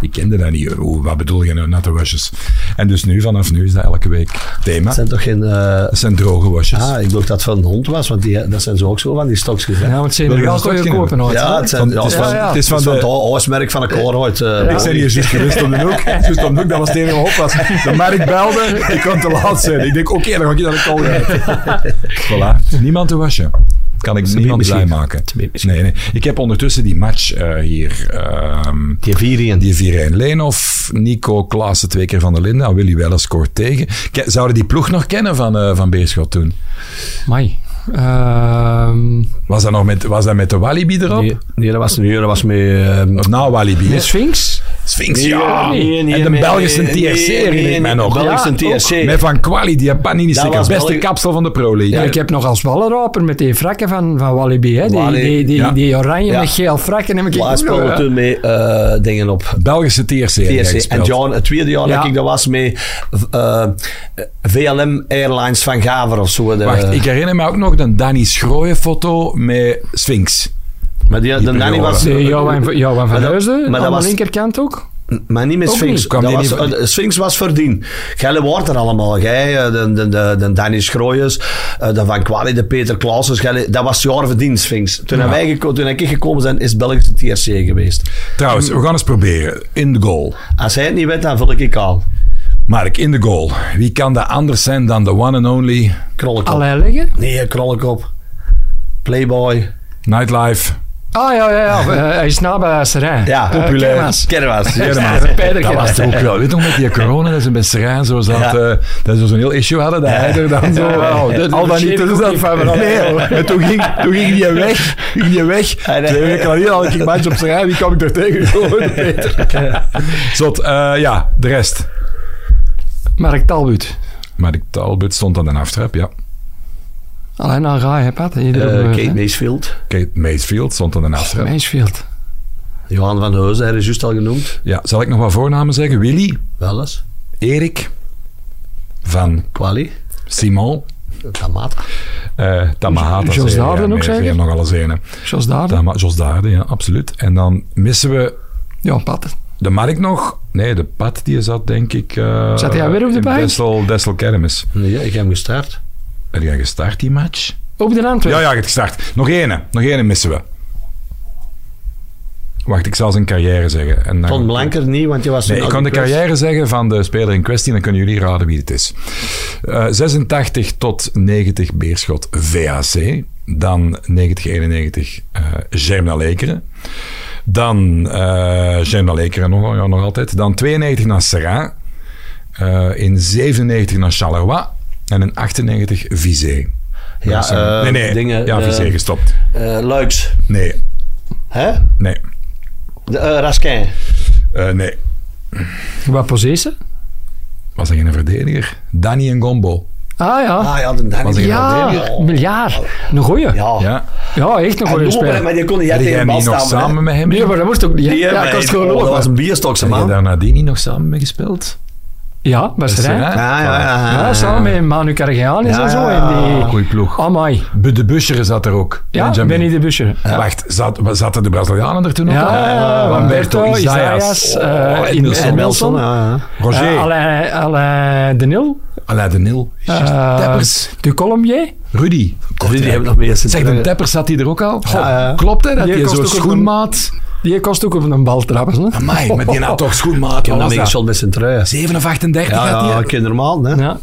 Ik kende dat niet. Hoe, wat bedoel je nou, natte wasjes? En dus nu, vanaf nu, is dat elke week thema. Dat zijn toch geen. eh, Dat zijn droge wasjes. ah, ik dacht dat het van een hond was, want die, dat zijn zo ook zo van die stokjes. hè. Ja, want ze Wil je hebben ook toch geen kopen hebben? ooit. Ja, hè? het, zijn, ja, het is ja, van- ja. het is van de- het oorsmerk van een Colruyt. eh, Ik ben hier juist gerust om de hoek. Juist om de hoek, dat was het enige wat op was. De merk belde, ik kon te laat zijn. Ik denk, oké, dan ga ik naar de kool Voilà. Niemand te wasje. Kan ik niemand blij misschien. maken. Ze misschien. Nee, nee. Ik heb ondertussen die match eh, hier. ehm, Die vier in. die 4-1 Leenhoff, Nico Klaassen twee keer van de Linden. En Willy Welles scoort tegen. Ke- Zouden die ploeg nog kennen van, eh, van Beerschot toen? Mai. Ehm, Was dat nog met, was dat met de Walibi erop? Nee, nee, dat was, nee, dat was met. eh, Of na Walibi? hè? De Sphinx? Sphinx, Nee, ja. nee, nee, en de nee, Belgische nee, TRC nee, herinner nee, ik mij nee, nog. Belgische Ja, ook. TRC. Met Van Quali, die Panini sticker. was Beste België- kapsel van de Pro League. Ja, ik heb nog als wallenraper met die frakken van, van Walibi, hè? Die, Walibi, die, die, ja. die oranje Ja. met geel frakken heb ik ook Wij nog, speelden hè. toen met eh, dingen op. Belgische TRC. heb jij TSC. En gespeeld. John, het tweede jaar Ja. dat ik dat was met eh, VLM Airlines van Gaver of zo. De, Wacht, ik herinner me ook nog de Danny Schrooien foto met Sphinx. maar die, de Nanny was... Eh, Johan, van- Johan van Maar dat- Huisden, maar dat aan de was- linkerkant ook. Maar niet met Ook Sphinx. niet, kwam Dat die was, niet van- eh, Sphinx was verdien. Gelle woord er allemaal. Gij, eh, de, de, de, de Danny Schrooijers, eh, de Van Kwali, de Peter Klaasens. Gelle- Dat was jaar verdiend, Sphinx. Toen, hebben wij geko- toen ik gekomen ben, is Belgische TRC geweest. Trouwens, we gaan eens proberen. In de goal. Als hij het niet weet, dan vul ik ik aan. Mark, in de goal. Wie kan dat anders zijn dan de one and only Krollenkop. Allerlei leggen. Nee, Krollenkop. Playboy. Nightlife? Ah, ja, ja, ja. eh, hij is nabij bij Serijn. Ja, Eh, populair. Kerma's. Kerma's. Kerma's. Pijder Dat was Kerma's. toch ook wel. Weet je nog met die corona, dat ze bij Serijn zo zat, Ja. eh, dat ze zo'n heel issue hadden, dat hij er dan zo... wauw, dat- al dat niet tussen zat. Nee, en toen ging, toen ging die weg. Ging die weg. Ah, nee. Twee weken later had ik een match op Serijn, wie kwam ik daar tegen? Gewoon Peter. Zot, eh, ja, de rest. Mark Talbot. Maar de Talbot stond aan de aftrap, ja. Alleen al ga je, Pat. Eh, Iedereen. Kate Macefield. Kate Macefield stond aan de aftrap. Mansfield. Johan van Heuzen, hij is juist al genoemd. Ja, zal ik nog wat voornamen zeggen? Willy, Wel eens. Erik, Van Quali. Simon, Tamata. eh Tamahata. Jos zei je, Daarden ja, ook meer, zeker? Ja, nog alles een. hè. Zoals daar. Tama, Jos Daarden, ja, absoluut. En dan missen we Ja, Pat. de Mark nog. Nee, de Pat die zat denk ik... eh, Zat hij weer op de in bank? Dessel, Dessel Kermis. Nee, ik heb hem gestart. Heb jij gestart die match? Op de Antwerpen. Ja, ja, je hebt gestart. Nog ene. Nog ene missen we. Wacht, ik zal zijn carrière zeggen. En dan... Ton Blanker niet, want je was... Nee, een ik kan de Albuquerque. carrière zeggen van de speler in kwestie, dan kunnen jullie raden wie het is. Eh, 86 tot 90 Beerschot VAC. Dan 90-91 eh Germinal Lekeren. Dan eh Germinal Lekeren nog, ja, nog altijd. Dan 92 naar Serra. Eh, in 97 naar Charleroi. En in 98 Vizé. Ja, Dat is, eh, eh, nee, nee. dingen, ja, eh, Vizé gestopt. Eh, Luiks. Nee, Hè? nee, De, eh, Raskin. eh, nee. Wat poseert ze? Was dat geen verdediger? Danny en Gombo. Ah ja. Ah ja, de Danny. Was hij ja, miljard. Een goeie. Ja, Ja. Ja. echt een En goeie doe maar, hè, speler. maar die kon niet echt Heb jij tegen de hem bal niet nog staan. samen met hem? Nee, maar dat wordt ook... Ja, ja, ik was het gewoon Dat was lopen. een bierstokse Heb je man. daar nadien niet nog samen mee gespeeld? Ja, bij Serijn. Ja, ja, ja. Ja, samen met Manu Kargianis Ja, en zo. ja. En die... Goeie ploeg. Amai. Bu- De Buscheren zat er ook. Ja, Benjamin. Benny de Buscher. Wacht, zat, wa- zaten de Brazilianen er toen ook? al? Ja, ja, Humberto, Humberto, Isaias, eh, oh, in- Edmilson. en Nelson, Nelson. ja, ja. Roger, Eh, Alain, Alain De Nil. Alain de Nil, Just eh, Teppers, De Colombier. Rudy. Die hebben nog meer Zeg, de Teppers zat hij er ook al? Goh, ja. Klopt hè, dat Die hij kost zo'n ook een- schoenmaat... Die kost ook op een bal trappen. Hè? Amai, maar die had toch schoenmaat, En wat dan was dat? meegezond met zijn trui. 7 of 38 Ja, had hij. ja, kindermaal, hè. Ja.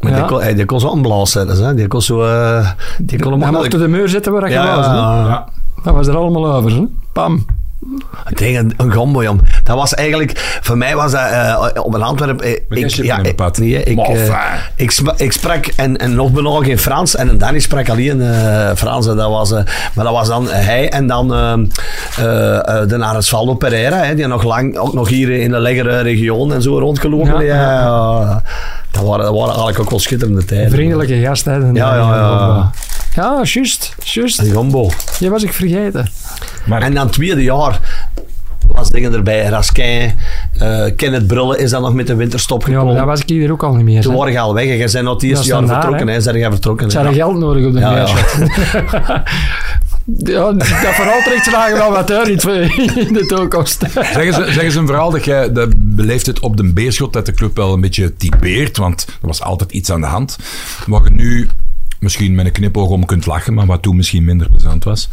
Maar die Ja. kon, hey, die kon zo aanblaas zetten, hè. Die kon zo... eh, die kon hem Hij ook- mocht op de muur zitten waar je Ja, was. hè. ja, ja. Ja. Dat was er allemaal over. Hè? Pam. Tegen een gombo, jam. Dat was eigenlijk... Voor mij was dat eh, op een Antwerp... eh, Met een ik, slip ja, in een ik- pad. nee, ik, Maar eh, enfin. ik, sma- ik sprak en, en nog bijna geen Frans. En een Danny sprak alleen eh Frans. En dat was, eh, maar dat was dan hij en dan eh, eh, eh, de Aresvaldo Pereira. Hè, die nog lang, ook nog hier in de lekkere regio en zo rondgelopen. Ja, Ja, ja, dat, waren, dat waren eigenlijk ook wel schitterende tijden. Vriendelijke gast. Hè? de- Ja, ja, ja. Ja, juist. Juist. Een gombo. Die was ik vergeten. Maar En dan het tweede jaar was dingen erbij. Raskin, eh Kenneth Brullen is dan nog met de winterstop Ja, gekomen. maar daar was ik hier ook al niet meer. Toen hè. waren je al weg en jij bent nog het eerste Dat is jaar dan daar, vertrokken. hè? Hè? Zijn jij vertrokken? Ze hè? hadden geld nodig op de Ja, ja. meerschot. Ja, dat vooral terecht vragen van wat er iets in de toekomst. Zeggen ze, zeggen ze een verhaal dat jij dat beleeft het op de beerschot dat de club wel een beetje typeert, want er was altijd iets aan de hand. Waar je nu misschien met een knipoog om kunt lachen, maar wat toen misschien minder plezant was.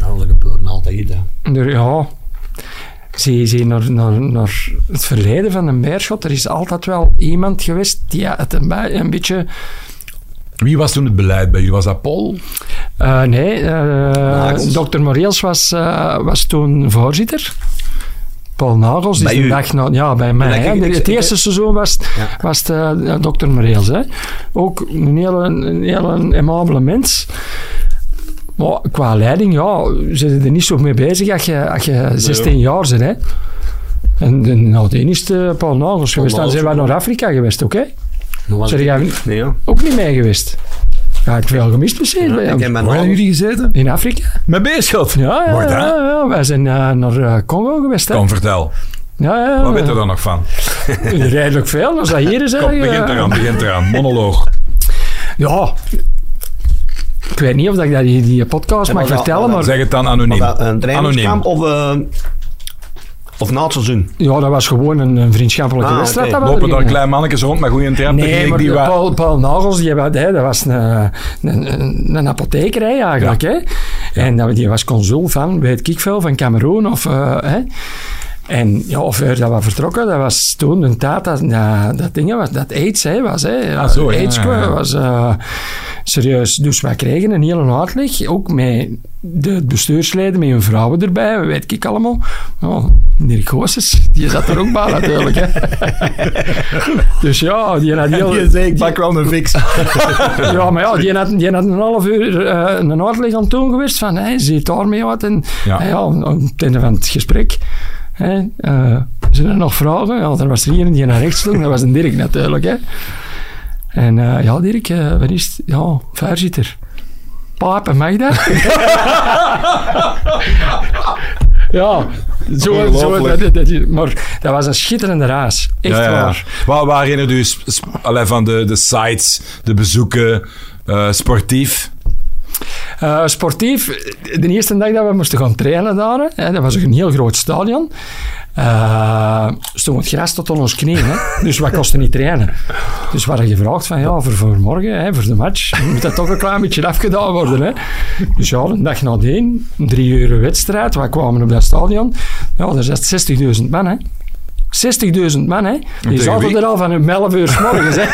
Nou, dat gebeurde altijd. Hè. Er- Ja, zie, zie naar, naar, naar het verleden van een meerschot. Er is altijd wel iemand geweest die het een, bij- een beetje... Wie was toen het beleid bij jullie? Was dat Paul? eh, nee, eh Nagels. dokter Moreels was, eh, was toen voorzitter. Paul Nagels is Bij een u? dag na... Ja, bij mij. dat hè. ik- De- ik- het ik- eerste seizoen was, Ja. was de, dokter Moreels. Hè. Ook een hele, een hele aimabele mens. Maar qua leiding, ja, ze er niet zo mee bezig als je, als je 16 jaar bent. Hè. En, en nou, de enige Paul Nagels geweest. Dan Nagels zijn we naar Afrika geweest, oké? Toen was Zeg ik- jij- Nee, ja. Ook niet mee geweest. Ja, ik heb wel gemist misschien. bij Ik ons. heb mijn Waar hebben ouders- jullie gezeten? In Afrika. Met beerschot? Ja, ja, Waar dan? ja, ja. wij zijn eh, naar eh, Congo geweest. Hè? Kom, vertel. Ja, ja, ja. Wat weet je dan nog van? Redelijk veel, als dat hier is. hè. Kom, begint Ja. eraan, begint eraan. Monoloog. Ja. Ik weet niet of dat ik dat die, die podcast Ja, mag maar wel- vertellen, maar maar Zeg het dan anoniem. Was dat eh, een trainingskamp Anoniem. of, eh, of na het seizoen? ja, dat was gewoon een, een vriendschappelijke Ah, wedstrijd. oké. dat we Lopen er daar gingen. klein mannetjes rond met goede trap? Nee, maar die de wa- Paul, Paul Nagels, die, wa- hè, dat was een, een, een, een apotheker hè, eigenlijk. Hè? En dat- die was consul van, weet ik veel, van Cameroen. Of, eh, hè? En ja, of er dat was vertrokken, dat was toen een tijd dat dat, dat ding was, dat AIDS hè, was. Hè? Ah, zo, ja, AIDS ja, ja. was eh, serieus. Dus wij kregen een hele uitleg, ook met de bestuursleden, met hun vrouwen erbij, weet ik allemaal. Oh, Dirk Goossens, die zat er ook bij natuurlijk. Hè? dus ja, die had heel... ik pak wel een fix. Ja, maar ja, die had, die had een half uur eh, een uitleg aan het doen geweest van, hey, zit daarmee wat? En Ja. ja. ja, aan het einde van het gesprek, hè, eh, zijn er nog vragen? Ja, er was er hier een die naar rechts sloeg, dat was een Dirk natuurlijk. Hè. En eh, ja, Dirk, eh, wat is het? Ja, voorzitter. Papen, mag dat? Ja, zo, zo Ongelooflijk. dat, dat- dat- maar dat was een schitterende race. Echt Ja, ja, ja. waar. Waar waren er dus sp- allee, van de, de sites, de bezoeken, eh, sportief? Eh, sportief, de eerste dag dat we moesten gaan trainen daar, hè, dat was een heel groot stadion, Eh stond het gras tot aan ons knieën. Hè? Dus wat kostte niet trainen? Dus we hadden gevraagd van, ja, voor, voor morgen, hè, voor de match, moet dat toch een klein beetje afgedaan worden. Hè? Dus ja, een dag nadien, een drie uur wedstrijd, we kwamen op dat stadion, ja, daar zat 60.000 man, hè. 60.000 man, hè. Die tegen zaten wie? er al van om 11 uur 's morgens, hè.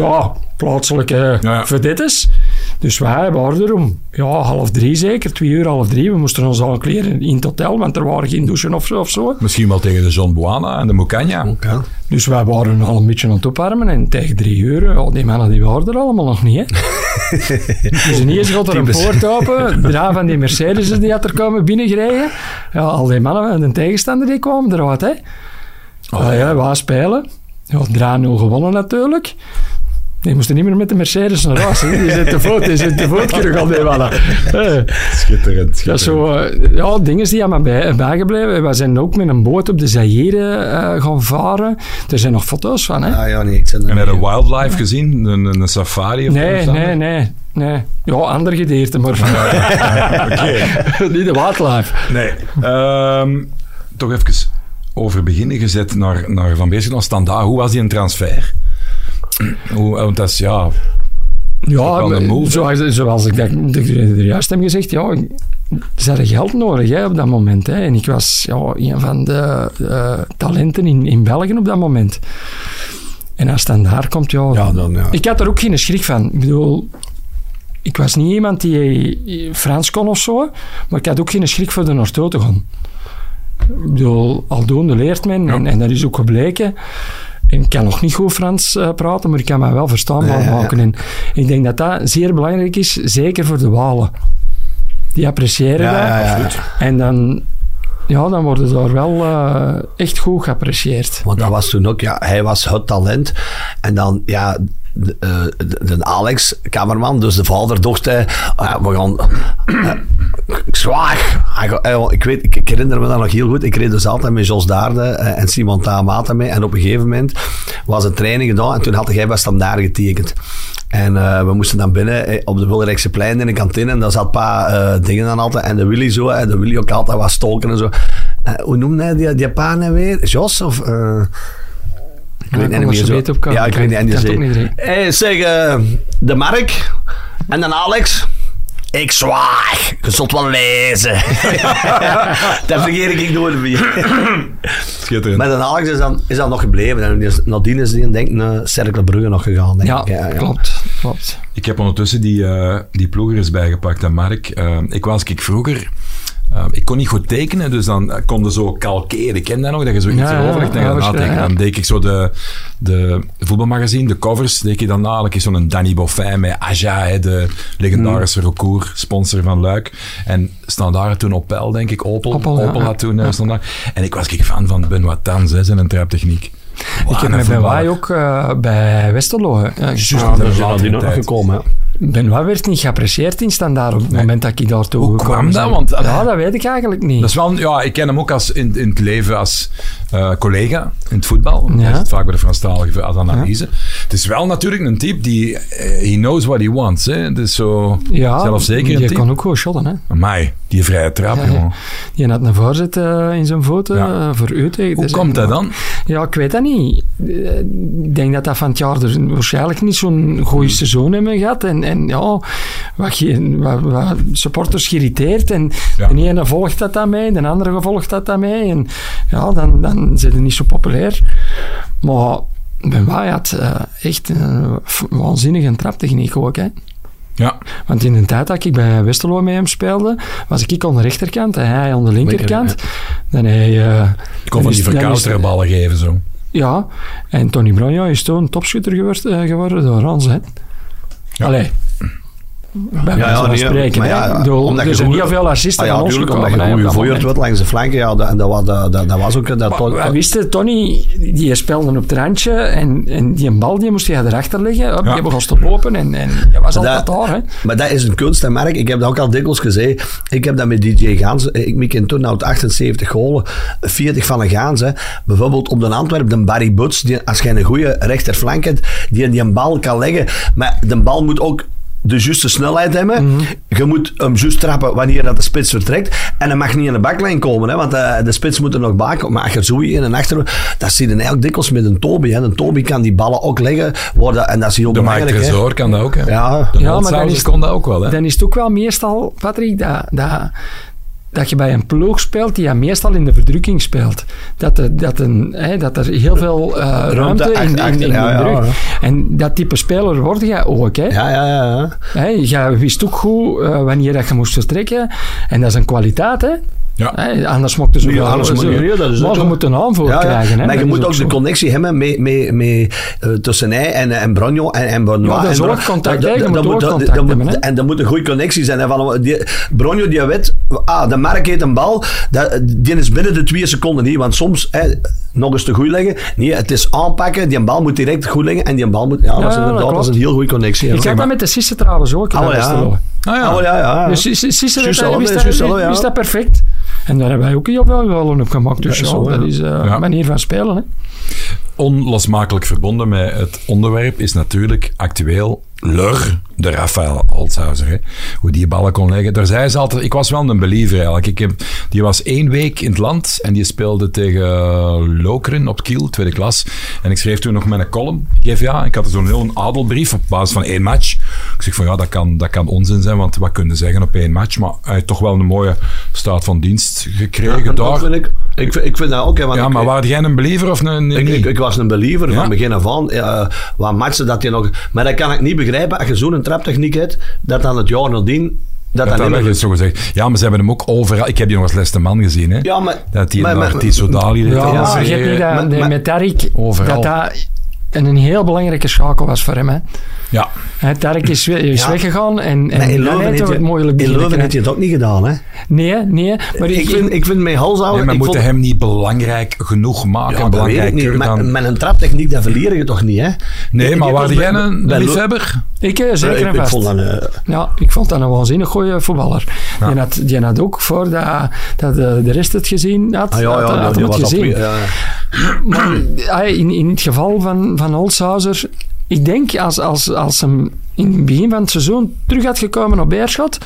ja, eh, plaatselijke ja. vedettes. Dus wij waren er om ja, half drie zeker, twee uur, half drie. We moesten ons al kleren in het hotel, want er waren geen douchen of zo. Of zo. Misschien wel tegen de John Buana en de Mocanja. Oké. Dus wij waren al een beetje aan het opwarmen. En tegen drie uur, ja, die mannen die waren er allemaal nog niet. Hè. dus ineens gaat er een Typisch. poort open. Drie van die Mercedes die had er komen binnengereden. Ja, al die mannen en de tegenstander die kwamen eruit. Hè. Ah, ja, wij spelen. Ja, 3-0 gewonnen natuurlijk. Die moesten niet meer met de Mercedes naar huis. hè. Die zit te voet, die zit te voet terug al die mannen. Eh. Schitterend. Dat is schitterend. zo, eh, ja, dingen die aan mij bij, bijgebleven. We zijn ook met een boot op de Zaire eh, gaan varen. Er zijn nog foto's van, hè? Ah ja, nee, ik zit En heb je wildlife gezien? Een, een, een safari of nee, iets anders? nee, nee, nee. Ja, ander gedeelte, maar niet de wildlife. Nee. Ehm, toch even over beginnen gezet naar, naar Van Beesel, naar Standaard. Hoe was die een transfer? Hoe, eh, want dat is, ja... Ja, wel een maar move, hè? zoals, zoals ik dat, dat ik er juist heb gezegd, ja, ik- ze hadden geld nodig hè, op dat moment. Hè. En ik was ja, een van de eh, talenten in, in België op dat moment. En als het dan daar komt, ja, Ja, dan, ja. Ik had er ook geen schrik van. Ik bedoel, ik was niet iemand die eh, Frans kon of zo, maar ik had ook geen schrik voor de Noordo te gaan. Ik bedoel, aldoende leert men, en, en dat is ook gebleken. En ik kan nog niet goed Frans eh, praten, maar ik kan mij wel verstaanbaar Ja, ja, ja. maken. En ik denk dat dat zeer belangrijk is, zeker voor de Walen. Die appreciëren dat. En dan, ja, dan worden ze daar wel eh, echt goed geapprecieerd. Want dat was toen ook, ja, hij was het talent. En dan, ja, de, eh, de, de Alex, kamerman, dus de vader, dacht hij, ah, we gaan... eh, Zwaar! Hij gaat- hij- Ik, weet, ik, ik herinner me dat nog heel goed. Ik reed dus altijd met Jos Daarde eh, en Simon Taamata mee. En op een gegeven moment was een training gedaan en toen had hij bij Standaard getekend. En eh, we moesten dan binnen eh, op de Wilderijkse plein in de kantine. En daar zat een paar eh, dingen aan altijd. En de Willy zo. En de Willy ook altijd was stoken en zo. Eh, hoe noemde hij die, die Japanen weer? Jos of... eh, ik Ja, weet het ik kom niet er meer zo zo. beter op komen. ja, ik Ik weet niet. En die kan het ook niet zei, direct. hey, zeg, eh, de Mark en dan Alex. Ik zwaag. Je zult wel lezen. dat vergeet ik nooit meer. Schitterend. Maar dan Alex is dan, is dan nog gebleven. En die is- nadien is die, denk ik, naar Cercle Brugge nog gegaan. Denk Ja, ik. klopt. klopt. Ik heb ondertussen die, eh, die ploeger eens bijgepakt, en Mark. Eh, ik was ik vroeger... eh, ik kon niet goed tekenen, dus dan eh, kon je zo kalkeren. Ik ken dat nog, dat je zo iets Ja, ja, erover legt en je ja, dat dat is- natekent. ja. Dan deed ik zo de, de voetbalmagazine, de covers, deed ik dan dadelijk eens zo'n Danny Boffin met Aja, hè, de legendarische Hmm. recours, sponsor van Luik. En Standaard toen Opel, denk ik, Opel. Opel, Opel, ja, ja. had toen eh, Standaard. En ik was ik fan van Benoit Tans hè, zijn traptechniek. Ik heb met Benoit ook eh, bij Westerlo. eh, juist op de- dat is nadien ook nog gekomen. Benoit werd niet geapprecieerd in standaard op het moment dat ik daartoe Hoe gekomen kwam dat? ben. Want, eh, ja, dat weet ik eigenlijk niet. Dat is wel, een- ja, ik ken hem ook als in, in het leven als eh, collega in het voetbal. Hij Ja. zit vaak bij de Franstalige als analyse. Het is wel natuurlijk een type die... eh, he knows what he wants. Hè. Het is zo ja, zelfzeker een Je type. kon ook gewoon shotten, hè. Amai, die vrije trap, Ja, jongen. Je had een voorzet eh, in zijn voeten Ja. eh, voor u tegen. Hoe Dus, komt dat eh, dan? Ja, ik weet dat niet. Eh, Ik denk dat dat van het jaar er waarschijnlijk niet zo'n goede seizoen hebben gehad. En, en ja, wat, ge- wat, wat supporters geïrriteerd. En Ja. de ene volgt dat dan mee, de andere volgt dat dan mee. En ja, dan, dan zijn ze niet zo populair. Maar Benoit had eh, echt een f- waanzinnige traptechniek ook, hè. Ja, Want in de tijd dat ik bij Westerlo met hem speelde, was ik aan de rechterkant en hij aan de linkerkant. Dan hij... eh, ik kon van die dan is- dan is- verkoudere ballen geven, zo. ja, en Tony Branja is toen topschutter geword, eh, geworden door ons. Hè. Ja. Allee, bij ja, ja, nee, spreken. maar hè. ja, Ik bedoel, omdat er je zijn goed- heel veel Ah narcisten ja, van ons natuurlijk, gekomen. omdat je hè, op goed dat gevooid moment. wordt langs de flanken. Ja, dat, en dat, was- eh, dat, dat, dat was ook... Dat, Maar wij wisten, Tony, die speelde op het randje en, en die bal die moest hij erachter leggen. Hop, Ja. Je begon te lopen en, en je was altijd Dat- daar. Hè. Maar dat is een kunst en merk. Ik heb dat ook al dikwijls gezegd. Ik heb dat met DJ Gaans. eh, Ik mik in toen uit 78 golen, 40 van een Gaans. Hè. Bijvoorbeeld op de Antwerp, de Barry Buts. Die, als je een goede rechterflank hebt, die die een bal kan leggen. Maar de bal moet ook de juiste snelheid hebben. Mhm. Je moet hem juist trappen wanneer dat de spits vertrekt. En hij mag niet in de baklijn komen, hè, want eh, de, de spits moet er nog baken. Maar als je zo in en achter... Dat zie je eigenlijk dikwijls met een Toby. Hè. Een Toby kan die ballen ook leggen. Worden, en dat is heel De Mike belangrijk. hè. Tresor kan dat ook, hè? Ja, De Ja, maar Holtzhauser dan is- kon dat ook wel, hè? Dan is het ook wel meestal, Patrick, dat, dat, dat je bij een ploeg speelt die ja meestal in de verdrukking speelt. Dat, er- dat, een, hè, dat er heel veel eh, ruimte in, in, in achter, de ja, ja, druk. ja. En dat type speler word jij ook. Hè? Ja, ja, ja, ja. Hè, jij wist ook goed eh, wanneer dat je moest vertrekken. En dat is een kwaliteit, hè? Ja. Hè, anders mocht je zo Nee, wel- anders zo- moet je- nee, dat is maar ook je zo. moet een aanvoer Ja, ja. krijgen. Hè? Maar je Dat moet is ook de zo. connectie hebben mee, mee, mee, eh, tussen hij en, eh, en Bronjo en, en Benoit. Ja, dat is en oogcontact, Dat- hè. Je dat- moet dat dat- oogcontact dat hebben, moet- hè. En dat moet een goede connectie zijn. hè, Van, die, Bronjo die weet, ah, de Mark heeft een bal, dat, die is binnen de twee seconden niet. Want soms, hè, nog eens te goed leggen, nee, het is aanpakken, die bal moet direct goed leggen en die bal moet... Ja, Ja, dat is dat inderdaad dat klopt. is een heel goede connectie. hè. Ik zag Ah, dat met de Sisse trouwens ook. in wel, dat Westerlo. Oh, ja. Ah, ja. Ah, wel, ja, ja. Dus is- is- is er- Juist is dat- al, is hè, dat- juist al, ja. Is dat perfect? En daar hebben wij ook heel veel golen op gemaakt. Dus is ja, zo, ja. dat is eh, een Ja. manier van spelen. Hè. Onlosmakelijk verbonden met het onderwerp is natuurlijk actueel Lur, de Rafael Holzhauser. Hè? Hoe die ballen kon leggen. Daar zei ze altijd, ik was wel een believer eigenlijk. Ik heb, die was één week in het land en die speelde tegen Lokeren op Kiel, tweede klas. En ik schreef toen nog met een column. Geef ja, ik had zo'n heel adelbrief op basis van één match. Ik zeg van ja, dat kan, dat kan onzin zijn, want wat kunnen zeggen op één match? Maar hij heeft toch wel een mooie staat van dienst gekregen en dat daar. vind ik, ik, vind- ik vind dat ook, hè, want Ja, ik- maar waren jij een believer of een... Ik, niet? ik, ik was een believer Ja. van begin af aan. eh wat matchen dat je nog... Maar dat kan ik niet begrijpen. Als je zo'n traptechniek hebt, dat dan het jaar nadien... Dat, Dat dat dat niet wel meer... is zo gezegd. Ja, maar ze hebben hem ook overal. Ik heb die nog als leste man gezien, hè? Ja, maar... dat hij maar, maar- naar Tissot Dali Ja, ja, maar vergeet niet dat maar- de- maar- met Tarik Overal. dat dat een, een heel belangrijke schakel was voor hem. Hè. ja. Hè, Tarik is, we- is Ja. weggegaan en, en maar in dan Leuven heeft heeft hij je- het moeilijk in beginnen Leuven heeft je het ook niet gedaan, hè? krijgen. Nee, nee. Maar ik, Ik vind, ik vind mijn halshouder... Nee, maar Oh, ik moeten vond- hem niet belangrijk genoeg maken. Ja, dat weet ik belangrijk niet. Maar dan... met een traptechniek, dat verlier je toch niet, hè? Nee, Ik- maar ik- waren ik- jij een bij Leu- liefhebber? ik, eh, Ja, zeker ik- en ik vast. vond dat een- Ja, ik vond dat een waanzinnig goede voetballer. Die, had, die had ook voor dat, dat eh, de, de rest het gezien had. Ah, ja, had, had ja, hem die het was al gezien. twee- ja, ja. Maar ah, in, in het geval van, van Holshouser, ik denk als, als, als hem in het begin van het seizoen terug had gekomen op Beerschot,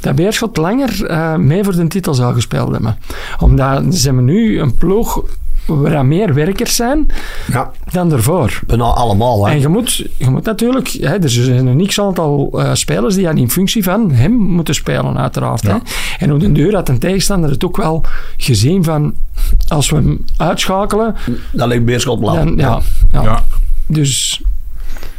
dat Beerschot langer eh, mee voor de titel zou gespeeld hebben. Omdat ze hebben nu een ploeg waar aan meer werkers zijn Ja, dan daarvoor. bijna nou, allemaal, hè? En je moet, je moet natuurlijk, hè, er zijn een x aantal eh, spelers die aan in functie van hem moeten spelen, uiteraard. Hè. En op de deur had een tegenstander het ook wel gezien van, als we hem uitschakelen, Dat ligt Beerschot blauw. dan, ja, ja. Ja. Dus...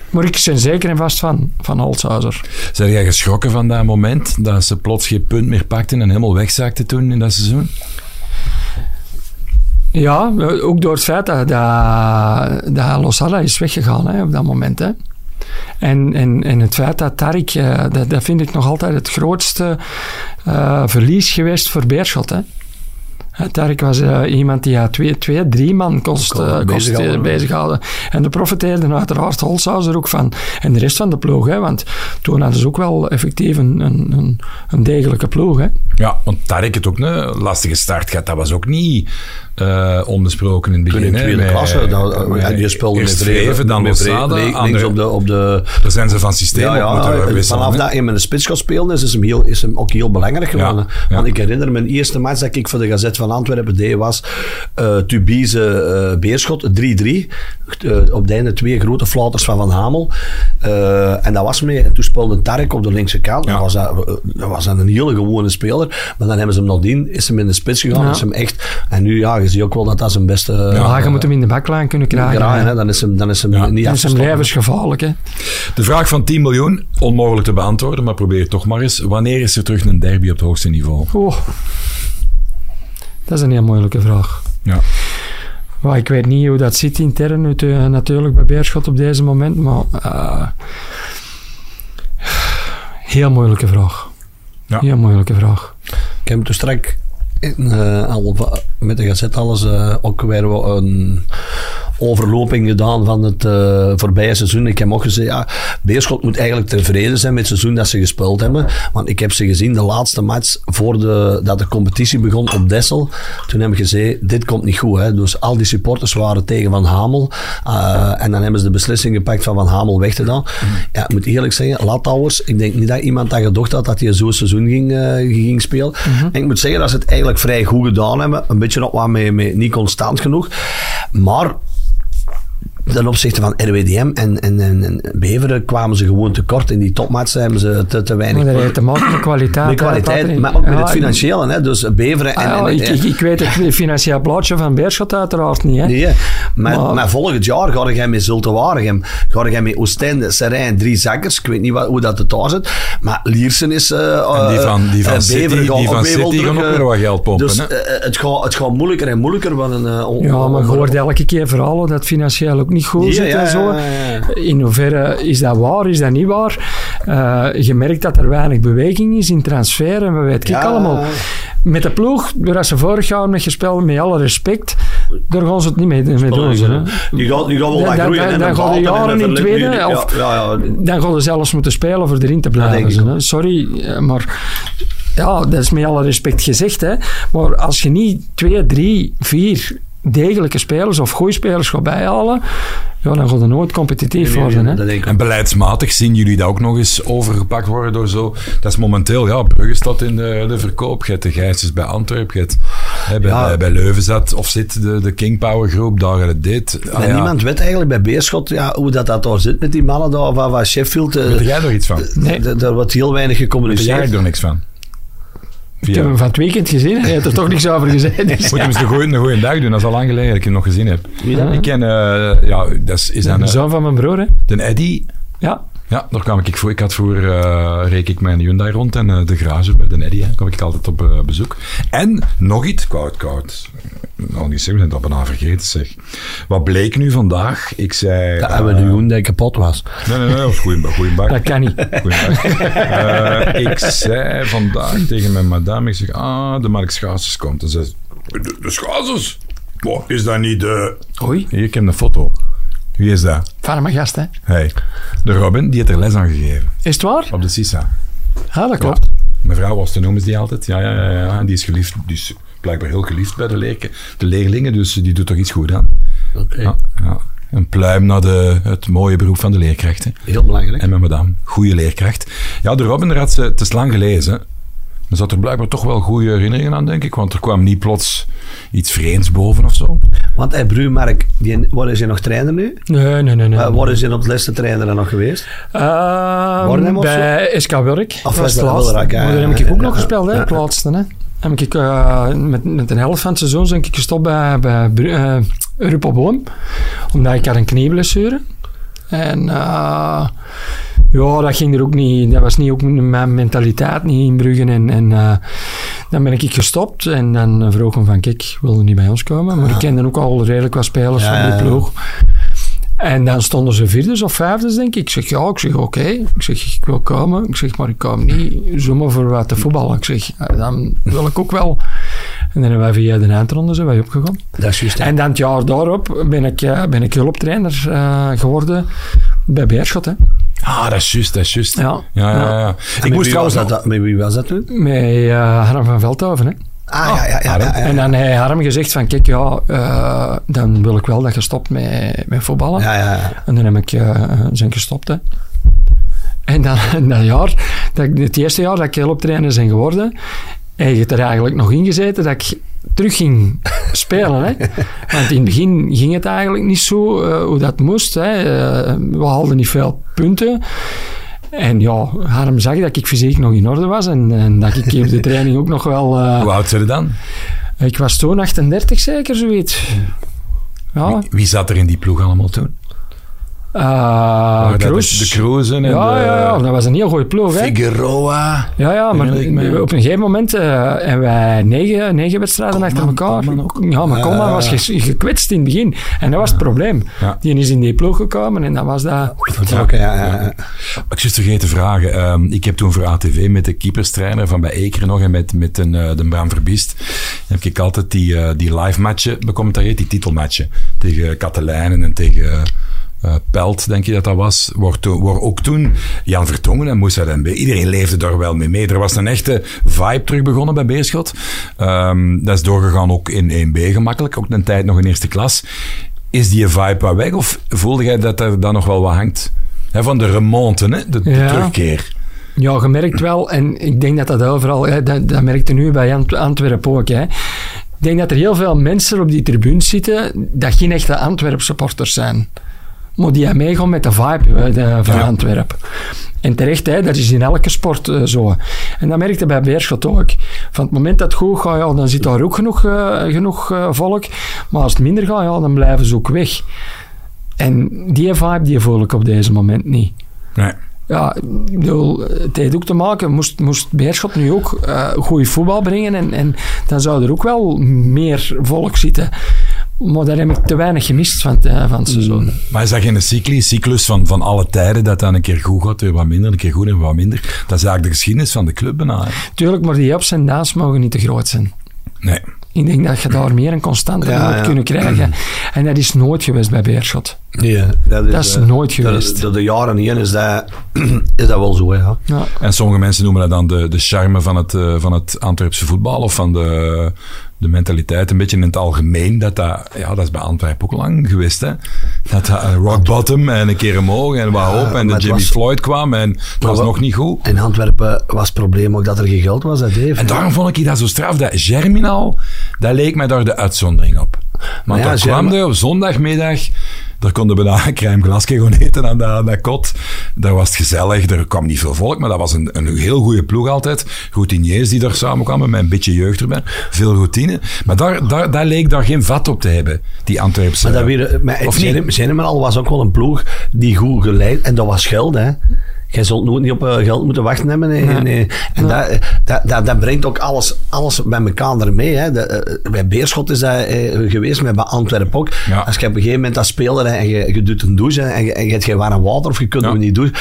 Maar ik ben zeker en vast van, van Holzhauser. Zijn jij geschrokken van dat moment dat ze plots geen punt meer pakten en helemaal wegzakten toen in dat seizoen? Ja, eh, ook door het feit dat, dat, dat Losada is weggegaan hè, op dat moment. Hè. En, en, en het feit dat Tarik, eh, dat, dat vind ik nog altijd het grootste eh, verlies geweest voor Beerschot. Hè. Eh, Tarik was eh, iemand die ja, twee, twee, drie man kost, Kon eh, kost, bezighouden, eh, hè. bezighouden. En de profiteerden uiteraard Holshuis er ook van. En de rest van de ploeg. Hè, want toen hadden ze ook wel effectief een, een, een, een degelijke ploeg. Hè. Ja, want Tarek het ook een lastige start gehad. Dat was ook niet eh, onbesproken in het Toen begin. in hè, tweede met- klasse, dan, met- ja, die speelde eerst met Vreven, Vreven, dan met Vreven, Lozada. nee, aan links de- op de, op de Daar zijn ze van systeem Ja, op ja, moeten en wisselen, vanaf hè. dat hij met de spits gaat spelen, is, is, hem, heel, is hem ook heel belangrijk geworden. Ja, ja. Want ik herinner me, de eerste match dat ik voor de Gazet van Antwerpen deed, was eh Tubize eh, Beerschot, 3-3. Eh, op het einde twee grote flauters van Van Hamel. Eh, en dat was mee. En toen speelde Tarek op de linkse kant. Ja. Dat, was, dat, eh, dat was dan een hele gewone speler. Maar dan hebben ze hem nadien, is hem in de spits gegaan. Ja. Is hem echt, en nu, ja, je ziet ook wel dat dat zijn beste... Ja, je moet hem in de baklijn kunnen krijgen. draaien, hè. hè. dan is hem, dan is hem Ja. niet Dat is hem afgestopt. levensgevaarlijk, hè. De vraag van 10 miljoen, onmogelijk te beantwoorden, maar probeer het toch maar eens. Wanneer is er terug een derby op het hoogste niveau? Oeh. Dat is een heel moeilijke vraag. Ja. Maar ik weet niet hoe dat zit intern nu te- natuurlijk bij Beerschot op deze moment, maar... eh, Heel moeilijke vraag. Ja. Heel moeilijke vraag. Ik heb toen straks in, eh, al va- met de gazet alles eh, ook weer wat een overloping gedaan van het eh, voorbije seizoen. Ik heb ook gezegd, ja, Beerschot moet eigenlijk tevreden zijn met het seizoen dat ze gespeeld hebben. Want ik heb ze gezien, de laatste match voor de, dat de competitie begon op Dessel. Toen hebben we gezegd, dit komt niet goed. Hè. Dus al die supporters waren tegen Van Hamel. eh, en dan hebben ze de beslissing gepakt van Van Hamel weg te doen. Ja, ik moet eerlijk zeggen, Latouwers, ik denk niet dat iemand dat gedacht had dat hij zo'n seizoen ging, eh, ging spelen. Mhm. En ik moet zeggen dat ze het eigenlijk vrij goed gedaan hebben. Een beetje nog wat mee, mee, niet constant genoeg. Maar ten opzichte van RWDM en, en, en, en Beveren kwamen ze gewoon tekort. In die topmatchen hebben ze te, te weinig. Maar dat heeft te maken met kwaliteit. Met hè, kwaliteit, Patrick. maar ook met Ja, het financiële. Hè? Dus Beveren en... Ah, ja, en- ik, ik, ik weet het financieel plaatje van Beerschot uiteraard niet. Hè. Nee, hè. maar, Maar- maar, volgend jaar ga jij met Zulte Waregem, ga jij met Oostende, Serijn, drie zakkers. Ik weet niet wat, hoe dat het daar zit. Maar Liersen is... eh, eh, die van- die van eh, City- Beveren gaat die ook van weer City wel gaan terug, ook eh, weer wat geld pompen, Dus hè. eh, het, gaat, het gaat moeilijker en moeilijker. Van een, eh, on- Ja, maar on- je hoort elke keer verhalen dat financieel ook niet goed Ja, zit ja, en zo. ja, ja, ja. In hoeverre is dat waar, is dat niet waar? Eh, je merkt dat er weinig beweging is in transfer en we weten Ja. ik allemaal. Met de ploeg, waar ze vorig jaar met gespeeld, met alle respect, daar gaan ze het niet mee, mee doen. Hè. Die gaat, die gaat wel Dan- wat dan- groeien. dan- hè. dan Dat gaan die valt en jaren dat in verliep- tweede, Ja, of- ja, ja. Dan gaan ze zelfs moeten spelen voor erin te denk blijven. ik zijn, hè. Sorry, eh, maar ja, dat is met alle respect gezegd. Hè. Maar als je niet twee, drie, vier degelijke spelers of goede spelers gaat bijhalen, ja, dan gaat het nooit competitief worden. Hè. Dat denk ik En beleidsmatig zien jullie dat ook nog eens overgepakt worden door zo... Dat is momenteel, ja, Brugge staat in de, de verkoop. Je hebt de Gijsjes bij Antwerpen, je hebt, hè, bij, Ja. bij, bij Leuven zat of zit de, de King Power groep, daar het dit. Ah, En ja. niemand weet eigenlijk bij Beerschot ja, hoe dat, dat daar zit met die mannen daar, van, van Sheffield. eh, Weet jij er iets van? Nee. d- d- Daar wordt heel weinig Weet jij gecommuniceerd. er niks van? Ik Via- heb hem van het weekend gezien en hij heeft er toch niks over gezegd. Dus Moet je hem eens een goeie, een goeie dag doen, dat is al lang geleden dat ik hem nog gezien heb. dat? Ik ken, eh, ja, dat is, is dan, de eh, zoon van mijn broer, hè. de Eddy. Ja. Ja, daar kwam ik voor. Ik had voor, eh reek ik mijn Hyundai rond en eh, de garage bij de Eddy, hè, kwam ik altijd op eh, bezoek. En nog iets, koud, koud. Nou, niet zeggen, we zijn dat bijna vergeten, zeg. Wat bleek nu vandaag? Ik zei... Dat eh, hebben we nu doen dat ik kapot was. Nee, nee, nee, dat is goeie, goeie bak. Dat kan niet. Goeiedag. Eh, ik zei vandaag tegen mijn madame, ik zeg, ah, de Mark Schaatsers komt. En ze zegt, de, de Schaatsers? Maar Is dat niet de... Oei, Hier, ik heb een foto. Wie is dat? van mijn gast, hè. Hey. De Robin, die heeft er les aan gegeven. Is het waar? Op de Sisa. Ja, dat klopt. Mevrouw was te noemen, is die altijd. Ja, ja, ja, ja. En Die is geliefd, die is blijkbaar heel geliefd bij de, leke- de leerlingen, dus die doet toch iets goed aan. Ja, ja. Een pluim naar de, het mooie beroep van de leerkrachten. Heel belangrijk. En met madame. Goede leerkracht. Ja, de Robin, daar had ze, het is lang gelezen. Er zat er blijkbaar toch wel goede herinneringen aan, denk ik. Want er kwam niet plots iets vreemds boven of zo. Want hey, Bru, Mark, die, waar is hij nog trainer nu? Nee, nee, nee. nee. Eh, waar is hij op het laatste trainer dan nog geweest? Ehm, Bornem of bij SK Wurk. Of Dat was is Ah, dat laatste. Wilrak, ja, Maar daar ja, heb ik ja, ook ja, nog ja, gespeeld, hè, ja. het laatste. Hè. Heb ik eh, met, met een helft van het seizoen ben ik gestopt bij, bij Bru- eh, Europa Boom. Omdat ik had een knieblessure. En eh, ja, dat ging er ook niet. Dat was niet ook mijn mentaliteit niet in Brugge. En, en eh, dan ben ik gestopt. En dan vroeg hem van kijk, wilde niet bij ons komen. Maar ik kende ook al redelijk wat spelers Ah. Ja, van ja, ja. die ploeg. En dan stonden ze vierdes of vijfdes, denk ik. Ik zeg, ja, ik zeg, oké. Ik zeg, ik wil komen. Ik zeg, maar ik kom niet zomaar voor wat te voetballen. Ik zeg, ja, dan wil ik ook wel. En dan hebben wij via de eindronde zijn wij opgegaan. Dat is juist. hè. En dan het jaar daarop ben ik, eh, ben ik hulptrainer eh, geworden bij Beerschot. Hè. Ah, dat is juist, dat is juist. Ja. Ja, ja, ja. En Ik met moest wie trouwens... was nog- dat, dat- met wie was dat toen? Met eh Harm van Veldhoven. Hè. Ah, ja, ja, ja. ja, ja. En dan heeft Harm gezegd van, kijk, ja, eh, dan wil ik wel dat je stopt met, met voetballen. Ja, ja, ja. En dan heb ik eh, zijn gestopt. Hè. En dan en dat jaar, dat ik, het eerste jaar dat ik hulptrainer ben geworden, heb ik er eigenlijk nog in gezeten dat ik terug ging spelen. Hè. Want in het begin ging het eigenlijk niet zo eh, hoe dat moest. Hè. Eh, we haalden niet veel punten. En ja, Harm zag dat ik fysiek nog in orde was en, en dat ik op de training ook nog wel... eh, Hoe oud zijn er dan? ik was toen 38 zeker, zoiets. Ja. Ah. Wie zat er in die ploeg allemaal toen? eh Maar dat Kroes. is De Cruisen en ja, de ja, ja, dat was een heel goeie ploeg. Hè. Figueroa. Ja, ja, maar Herinner ik me. op een gegeven moment eh, hebben wij negen, negen wedstrijden achter elkaar. Ja, maar Coleman was ges- gekwetst in het begin. En dat was het probleem. Ja. Die is in die ploeg gekomen en dan was dat... Vertrokken, ja. ja, ja. Ik zit vergeten vragen. Ehm, ik heb toen voor ATV met de keeperstrainer van bij Eker nog en met, met een, eh, de Bram Verbiest, heb ik altijd die, eh, die live matchen becommentarieerd, die titelmatchen. Tegen Katelijnen en tegen eh, Pelt, denk je dat dat was. Wordt toen- wordt ook toen Jan Vertongen en Moussa Dembé. Iedereen leefde daar wel mee mee. Er was een echte vibe terug begonnen bij Beerschot. Ehm, dat is doorgegaan ook in 1B gemakkelijk. Ook een tijd nog in eerste klas. Is die vibe wel weg of voelde jij dat er dan nog wel wat hangt? Hè, van de remonte, hè? De, de Ja. terugkeer. Ja, je merkt wel, en ik denk dat dat overal, hè, dat, dat merkte nu bij Ant- Antwerpen ook. Hè. Ik denk dat er heel veel mensen op die tribune zitten dat geen echte Antwerp supporters zijn. Maar die meegaan met de vibe hè, de- van Ja. Antwerpen. En terecht, hè, dat is in elke sport eh, zo. En dat merkte bij Beerschot ook. Van het moment dat het goed gaat, ja, dan zit daar ook genoeg, eh, genoeg eh, volk. Maar als het minder gaat, ja, dan blijven ze ook weg. En die vibe die voel ik op deze moment niet. Nee. Ja, ik bedoel, het heeft ook te maken. Moest, moest Beerschot nu ook eh goede voetbal brengen en, en dan zou er ook wel meer volk zitten. Maar daar heb ik te weinig gemist van, het, eh, van Mm. het seizoen. Maar is dat geen cycli, cyclus van, van alle tijden dat dan een keer goed gaat, weer wat minder, een keer goed en wat minder? Dat is eigenlijk de geschiedenis van de club bijna. hè. Tuurlijk, maar die ups en downs mogen niet te groot zijn. Nee. Ik denk dat je daar meer een constante Ja, moet ja. kunnen krijgen. En dat is nooit geweest bij Beerschot. Ja, dat is, Dat is eh, nooit dat- geweest. Door de jaren heen is dat, is dat wel zo, hè, ja. Ja. En sommige mensen noemen dat dan de, de charme van het, eh, van het Antwerpse voetbal of van de, de mentaliteit. Een beetje in het algemeen. Dat, dat, ja, dat is bij Antwerpen ook lang geweest. Hè? Dat dat een rock bottom en een keer omhoog en waar op. maar En de het Jimmy was- Floyd kwam en het was wel- nog niet goed. In Antwerpen was het probleem ook dat er geen geld was, dat Dave. En daarom vond ik dat zo straf. Dat Germinal, dat leek mij daar de uitzondering op. Want Ja, daar Germa- kwam er op zondagmiddag, daar konden we daar een crème glaasje gewoon eten aan dat, aan dat kot. Daar was het gezellig, er kwam niet veel volk, maar dat was een, een heel goede ploeg altijd. Routiniers die daar samenkwamen, met een beetje jeugd erbij. Veel routine. Maar daar, daar, daar leek daar geen vat op te hebben, die Antwerpse. Ah, Maar dat weer, maar Of niet? Zenemal was ook wel een ploeg die goed geleid en dat was geld, hè. Jij zult nooit niet op eh, geld moeten wachten hebben. hè. En, eh, en dat, dat, dat, dat brengt ook alles, alles bij elkaar ermee. Hè. Dat, eh, bij Beerschot is dat eh, geweest, maar bij Antwerpen ook. Ja. Als je op een gegeven moment dat speler en je, je doet een douche hè, en je, en je hebt geen warm water of je kunt Ja. hem niet douchen.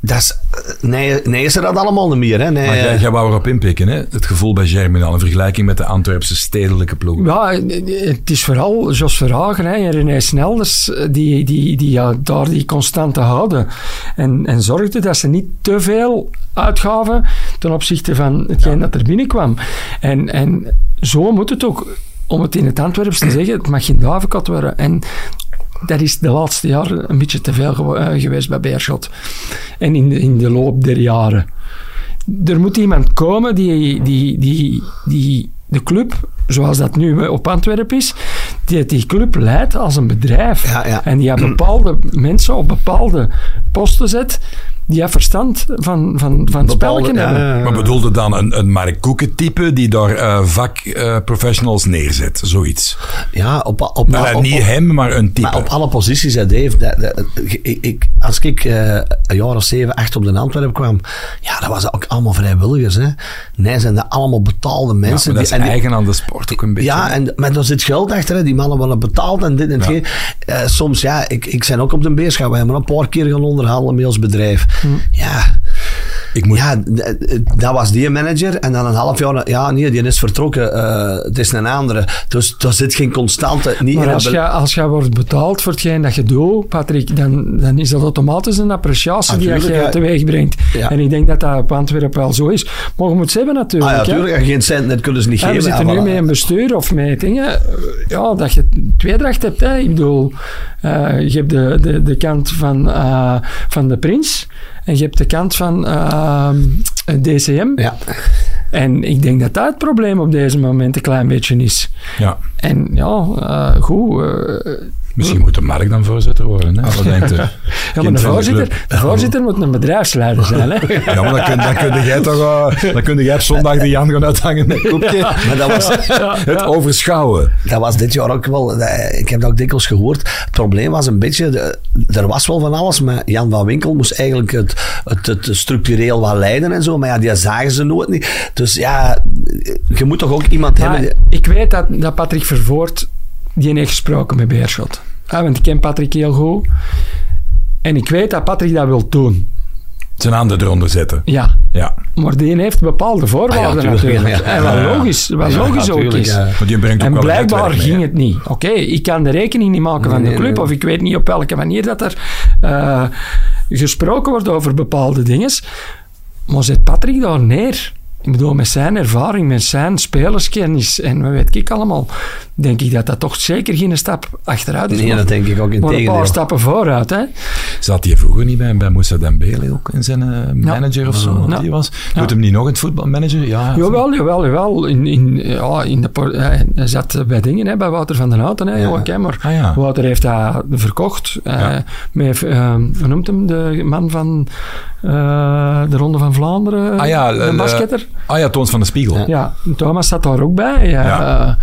Dat is, eh, nee, nee is er dat allemaal niet meer. Hè. Nee, Maar jij, eh, jij wou erop inpikken, hè? Het gevoel bij Germinal in vergelijking met de Antwerpse stedelijke ploeg. Ja, het is vooral Jos Verhagen hè, en René Snelders eh, die, die, die ja, daar die constante houden. En, en zorgden dat ze niet te veel uitgaven ten opzichte van hetgeen dat er binnenkwam. En, en zo moet het ook, om het in het Antwerps te zeggen, het mag geen duivenkot worden. En dat is de laatste jaren een beetje te veel gewo- eh, geweest bij Beerschot. En in de, in de loop der jaren. Er moet iemand komen die, die, die, die de club, zoals dat nu eh, op Antwerpen is, die die club leidt als een bedrijf. Ja, ja. En die aan bepaalde mensen op bepaalde posten zet, die heeft verstand van, van, van het bepaalde- spelletje ja, hebben. ja, ja. Maar bedoelde dan een, een Mark Koeken type die daar eh, vakprofessionals neerzet, zoiets? Ja, op, op, op, Maar Nou, dat op- niet hem, maar een type. Maar op alle posities, hè, Dave. Dat, dat- ik, ik- als ik eh, een jaar of zeven, acht op de Antwerpen kwam, ja, dat was ook allemaal vrijwilligers. Hè. Nee, zijn dat allemaal betaalde Ja, mensen. maar dat is die, en die- eigen aan de sport ook een beetje. ja, en, maar daar zit geld achter. Hè. Die mannen worden betaald en dit en dat. soms, ja, ik, ik ben ook op de beerschap. We hebben een paar keer gaan onderhandelen met ons bedrijf. Hm. Ja, ik moet, ja, d- d- dat was die manager. En dan een half jaar, ja, nee, die is vertrokken. eh, het is een andere. Dus daar zit geen constante. Niet in Maar dat als bel- jij als jij wordt betaald voor hetgeen dat je doet, Patrick, dan, dan is dat automatisch een appreciatie die Natuurlijk, dat ja. je teweeg brengt. Ja. En ik denk dat dat op Antwerpen wel zo is. Maar je moet het hebben natuurlijk. Ah ja, hè. natuurlijk. als je Geen cent, dat kunnen ze niet Ja, we geven. zitten Ah, nu voilà. met een bestuur of met dingen, ja, dat je tweedracht hebt. Hè. Ik bedoel, eh, je hebt de, de, de kant van, eh, van de prins en je hebt de kant van eh, het DCM. Ja. En ik denk dat dat het probleem op deze moment een klein beetje is. ja. En ja, eh, goed, eh, Misschien moet de Mark dan voorzitter worden. Hè? Wat denkt u? Ja, maar de voorzitter, de voorzitter moet een bedrijfsleider zijn. Hè? Ja, maar dan kun, dan kun jij toch... eh, dan kun jij op zondag de Jan gaan uithangen met een koekje. Maar dat was, Het overschouwen. dat was dit jaar ook wel... eh, Ik heb dat ook dikwijls gehoord. Het probleem was een beetje... de- Er was wel van alles, maar Jan van Winkel moest eigenlijk het, het, het structureel wat leiden en zo. Maar ja, die zagen ze nooit niet. Dus ja, je moet toch ook iemand Maar hebben... die- ik weet dat, dat Patrick Vervoort, die heeft gesproken met Beerschot. Ah, want ik ken Patrick heel goed. En ik weet dat Patrick dat wil doen. Zijn handen eronder zetten. Ja, Ja. maar die heeft bepaalde voorwaarden Ah ja, tuurlijk, natuurlijk. ja, ja. En Ja, wat Eh, ja. logisch, wat Ja, logisch ook tuurlijk, is. ja. Maar die brengt ook En wel een blijkbaar netwerk mee, ging hè. het niet. Oké, ik kan de rekening niet maken van Nee, de nee, club, nee. of ik weet niet op welke manier dat er eh, gesproken wordt over bepaalde dingen. Maar zet Patrick daar neer. Ik bedoel, met zijn ervaring, met zijn spelerskennis en wat weet ik allemaal, denk ik dat dat toch zeker geen stap achteruit is. Nee, maar- dat denk ik ook in maar een paar tegendeel. stappen vooruit, hè? Zat hij vroeger niet bij, bij Moussa Dembele ook in zijn eh, manager of zo? wat Ja. Die was. Doet hem niet nog in het voetbalmanager? Ja. Jawel, jawel, jawel. In, in, ja, in de, por- hij hij zat bij dingen, hè, bij Wouter van den Houten. Hè, Oké, maar Ah, ja. Wouter heeft dat verkocht. eh, Ja. met, ehm, hoe noemt hem? De man van eh, de Ronde van Vlaanderen. Ah ja, de eh, basketter. Ah ja, Toons van de Spiegel. Ja, Thomas zat daar ook bij. Ja. Ja.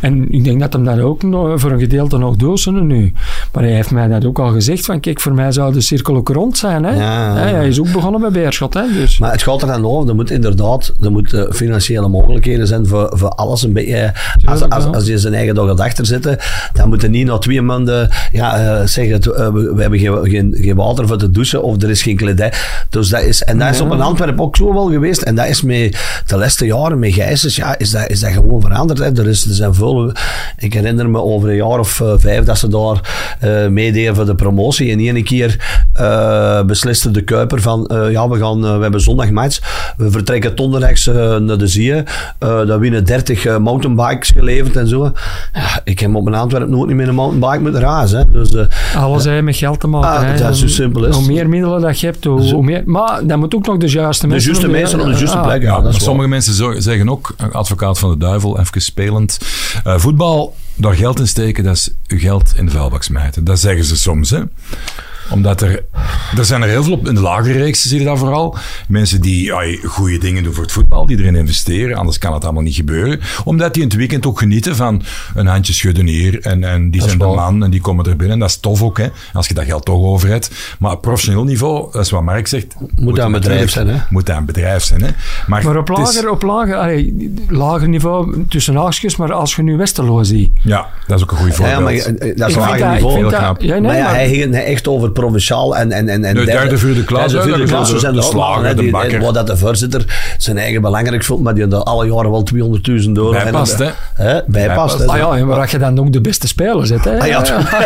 Eh, en ik denk dat hem dat ook nog- voor een gedeelte nog dozen nu. Maar hij heeft mij dat ook al gezegd. Van, kijk, voor mij zou de cirkel ook rond zijn. Hè. Ja, ja, Eh, hij is ook begonnen bij Beerschot. Hè, dus. Maar het gaat er dan over, er moet inderdaad er moet, eh, financiële mogelijkheden zijn voor, voor alles. Een beetje, eh, als, als, als je zijn eigen dag gaat achterzitten, dan moet je niet na twee maanden ja, eh, zeggen, het, eh, we, we hebben geen, geen, geen water voor te douchen of er is geen kledij. Dus dat is, en dat is op een Antwerp ook zo wel geweest. En dat is met de laatste jaren met Gijsens, ja, is dat, is dat gewoon veranderd. Hè. Er, is, er zijn veel, ik herinner me over een jaar of eh, vijf dat ze daar eh meededen voor de promotie. En die ene keer eh, besliste de Kuiper van, eh, ja, we, gaan, eh, we hebben zondag match. We vertrekken donderdags eh, naar de Zieën. Eh, daar winnen 30 eh, mountainbikes geleverd en zo. Ja, ik heb op mijn Antwerp nooit niet meer een mountainbike moeten razen. Hè. Dus, eh, Alles heeft met geld te maken. Ah, hè. dat is zo simpel, hè. Hoe meer middelen dat je hebt, hoe, hoe meer... Maar dan moet ook nog de juiste mensen... Ah, juiste op mensen op de juiste plek, Ah, Ja, Ja, dat is maar waar. sommige mensen zo- zeggen ook, eh, advocaat van de duivel, even spelend, eh, voetbal, daar geld in steken, dat is uw geld in de vuilbak smijten. Dat zeggen ze soms, hè. Omdat er, er zijn er heel veel op, in de lagere reeks zie je dat vooral, mensen die ja, goede dingen doen voor het voetbal, die erin investeren, anders kan het allemaal niet gebeuren. Omdat die in het weekend ook genieten van een handje schudden hier en, en die zijn de man en die komen er binnen. Dat is tof ook, hè, als je dat geld toch over hebt. Maar op professioneel niveau, dat is wat Mark zegt, moet dat een het bedrijf natuurlijk- zijn, hè? Moet dat een bedrijf zijn, hè. Maar op het is- lager, op lager, allee, lager niveau, tussen haakjes, maar als je nu Westerlo ziet. Ja, dat is ook een goed voorbeeld. ja, maar, eh, eh, dat is Ik een vind lager dat- ik niveau. vind dat- knap. ja, nee, maar ja, maar- hij ging het echt over provinciaal en, en, en, en De derde, vierde klas, hè, Derde, vierde dat is klas, de- er zijn de er allemaal, slager, hè, de die- bakker. Waar dat de voorzitter zijn eigen belangrijk vond, maar die er alle jaren wel 200.000 euro... Bijpast, hè? hè? Bijpast, Bijpast. hè. Ah ja, en waar je dan ook de beste speler zit. Hè? Ah ja,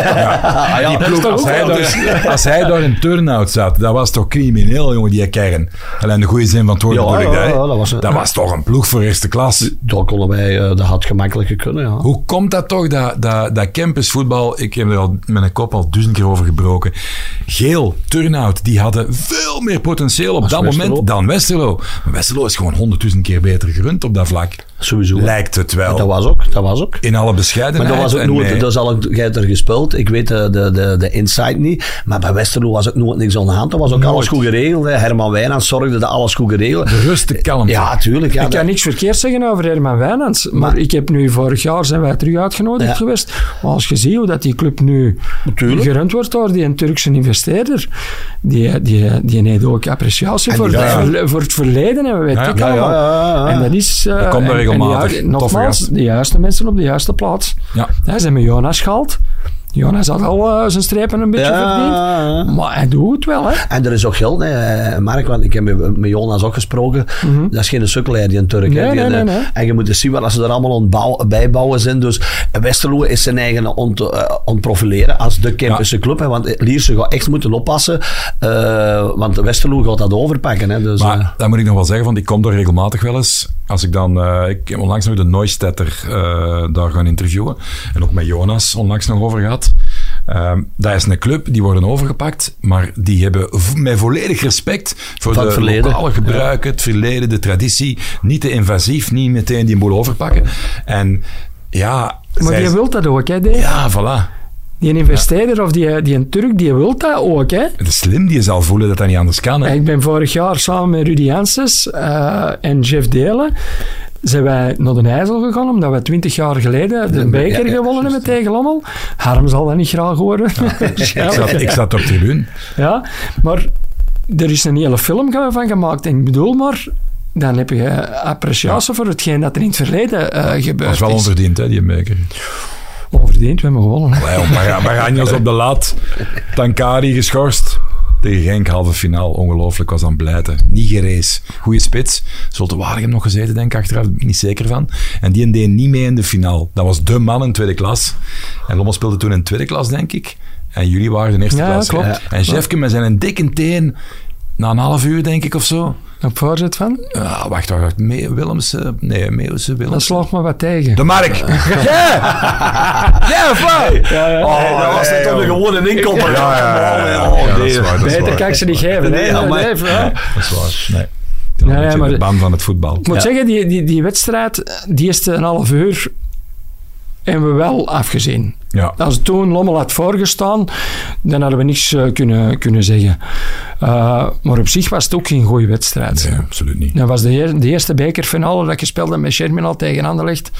Ah ja, Die ploeg, toch als, ook hij dus- wel, daar, als hij daar in turn-out zat, dat was toch crimineel, jongen, die kern. Alleen de goede zin van het woord Ja, bedoel ik ja, dat, hè. ja, dat was- toch een ploeg voor eerste klas. Dat konden wij, eh, dat had gemakkelijker kunnen, ja. Hoe komt dat toch, dat, dat, dat campusvoetbal, ik heb er al met een kop al duizend keer over gebroken. Geel, Turnhout, die hadden veel meer potentieel op dat Westerlo. moment dan Westerlo. Maar Westerlo is gewoon honderdduizend keer beter gerund op dat vlak. Sowieso. Lijkt het wel. Dat was ook, dat was ook. in alle bescheidenheid. Maar dat was en ook nooit, met- dat is al ook, jij hebt er gespeeld, ik weet de, de, de, de insight niet, maar bij Westerlo was ook nooit niks aan de hand, dat was ook alles goed geregeld. hè. Herman Wijnand zorgde dat alles goed geregeld De rust, de kalmte. Ja, tuurlijk. Ja, ik kan niks verkeerd zeggen over Herman Wijnands, maar, ik heb nu vorig jaar zijn wij terug uitgenodigd Ja. geweest. Maar als je ziet hoe dat die club nu Natuurlijk. gerund wordt door die Turkse investeerder, die, die, die neemt ook appreciatie En voor, die- het Ja. verle- voor het verleden en we weten Ja, ik ja, allemaal. ja, ja, ja, ja. En dat is... eh, Ah, Dat komt er en- en die regelmatig. ju- Toffe nogmaals, gast. de juiste mensen op de juiste plaats. Ja. Hij zijn met Jonas gehaald. Jonas had al eh, zijn strepen een beetje Ja. verdiend. Maar hij doet het wel, hè. En er is ook geld, hè, Eh, Mark, want ik heb met, met Jonas ook gesproken. Dat is geen sukkelheid, die een Turk. hè. Nee, Die, nee, nee, eh, nee. En je moet eens zien wat ze er allemaal ontbouw, bijbouwen zijn. Dus Westerlo is zijn eigen ont, eh, ontprofileren als de Kempische club. Hè, want eh, Lierse gaat echt moeten oppassen, eh, want Westerlo gaat dat overpakken. Hè, dus, eh, Maar dat moet ik nog wel zeggen, want ik kom daar regelmatig wel eens. Als ik dan, eh, ik heb onlangs nog de Neustetter eh, daar gaan interviewen. En ook met Jonas onlangs nog over gehad. Ehm dat is een club, die worden overgepakt, maar die hebben vo- met volledig respect voor Van de het verleden. lokale gebruiken, het verleden, de traditie. Niet te invasief, niet meteen die boel overpakken. En ja, Maar zij- die wil dat ook, hè, Dave. ja, voilà. Die investeerder of die, die een Turk, die wil dat ook, hè. Het is slim, die zal voelen dat dat niet anders kan. Hè? Ik ben vorig jaar samen met Rudy Janssens eh, en Jeff Delen zijn wij naar de IJssel gegaan, omdat we twintig jaar geleden de beker ja, gewonnen hebben tegen Lommel. Harm zal dat niet graag horen. Ik, zat, ik zat op tribune. Ja, maar er is een hele film van gemaakt. En ik bedoel maar, dan heb je appreciatie voor hetgeen dat er in het verleden eh Dat gebeurd is wel is. onverdiend, hè, die beker. Onverdiend, we hebben gewonnen. Allee, om Baga- Baganjas op de lat. Tankari geschorst. Tegen Genk, halve finaal. Ongelooflijk, was aan blijten. Niet gerees. Goeie spits. Zulte Waregem nog gezeten, denk ik, achteraf. ben ik Niet zeker van. En die deed niet mee in de finaal. Dat was de man in tweede klas. En Lommel speelde toen in tweede klas, denk ik. En jullie waren in eerste Ja, klas. klopt. Ja. En Jeffke met zijn een dikke teen... Na een half uur, denk ik, of zo. Op voorzet van, Ah, wacht, wacht, wacht. Me Willemse... Nee, Meeuwse, dat Willemse. slaagt me wat tegen. De Mark. Ja! Ja, of wat? Oh, dat was nee, net om de joh. gewone inkoper. Ja, ja, ja, ja. Ja, dat is waar, dat is waar. Beter kan ik ze niet geven. Nee, hè. ja, maar- Nee, ja. Dat is waar. Nee. Ja, ja, Dan ben maar je de de- baan van het voetbal. Ik moet zeggen, die, die, die wedstrijd, die eerste een half uur, hebben we wel afgezien. Ja. Als toen Lommel had voorgestaan, dan hadden we niks eh, kunnen, kunnen zeggen. Eh, maar op zich was het ook geen goede wedstrijd. Nee, absoluut niet. Dat was de, eer- de eerste bekerfinale dat je speelde met Sherminal tegen Anderlecht.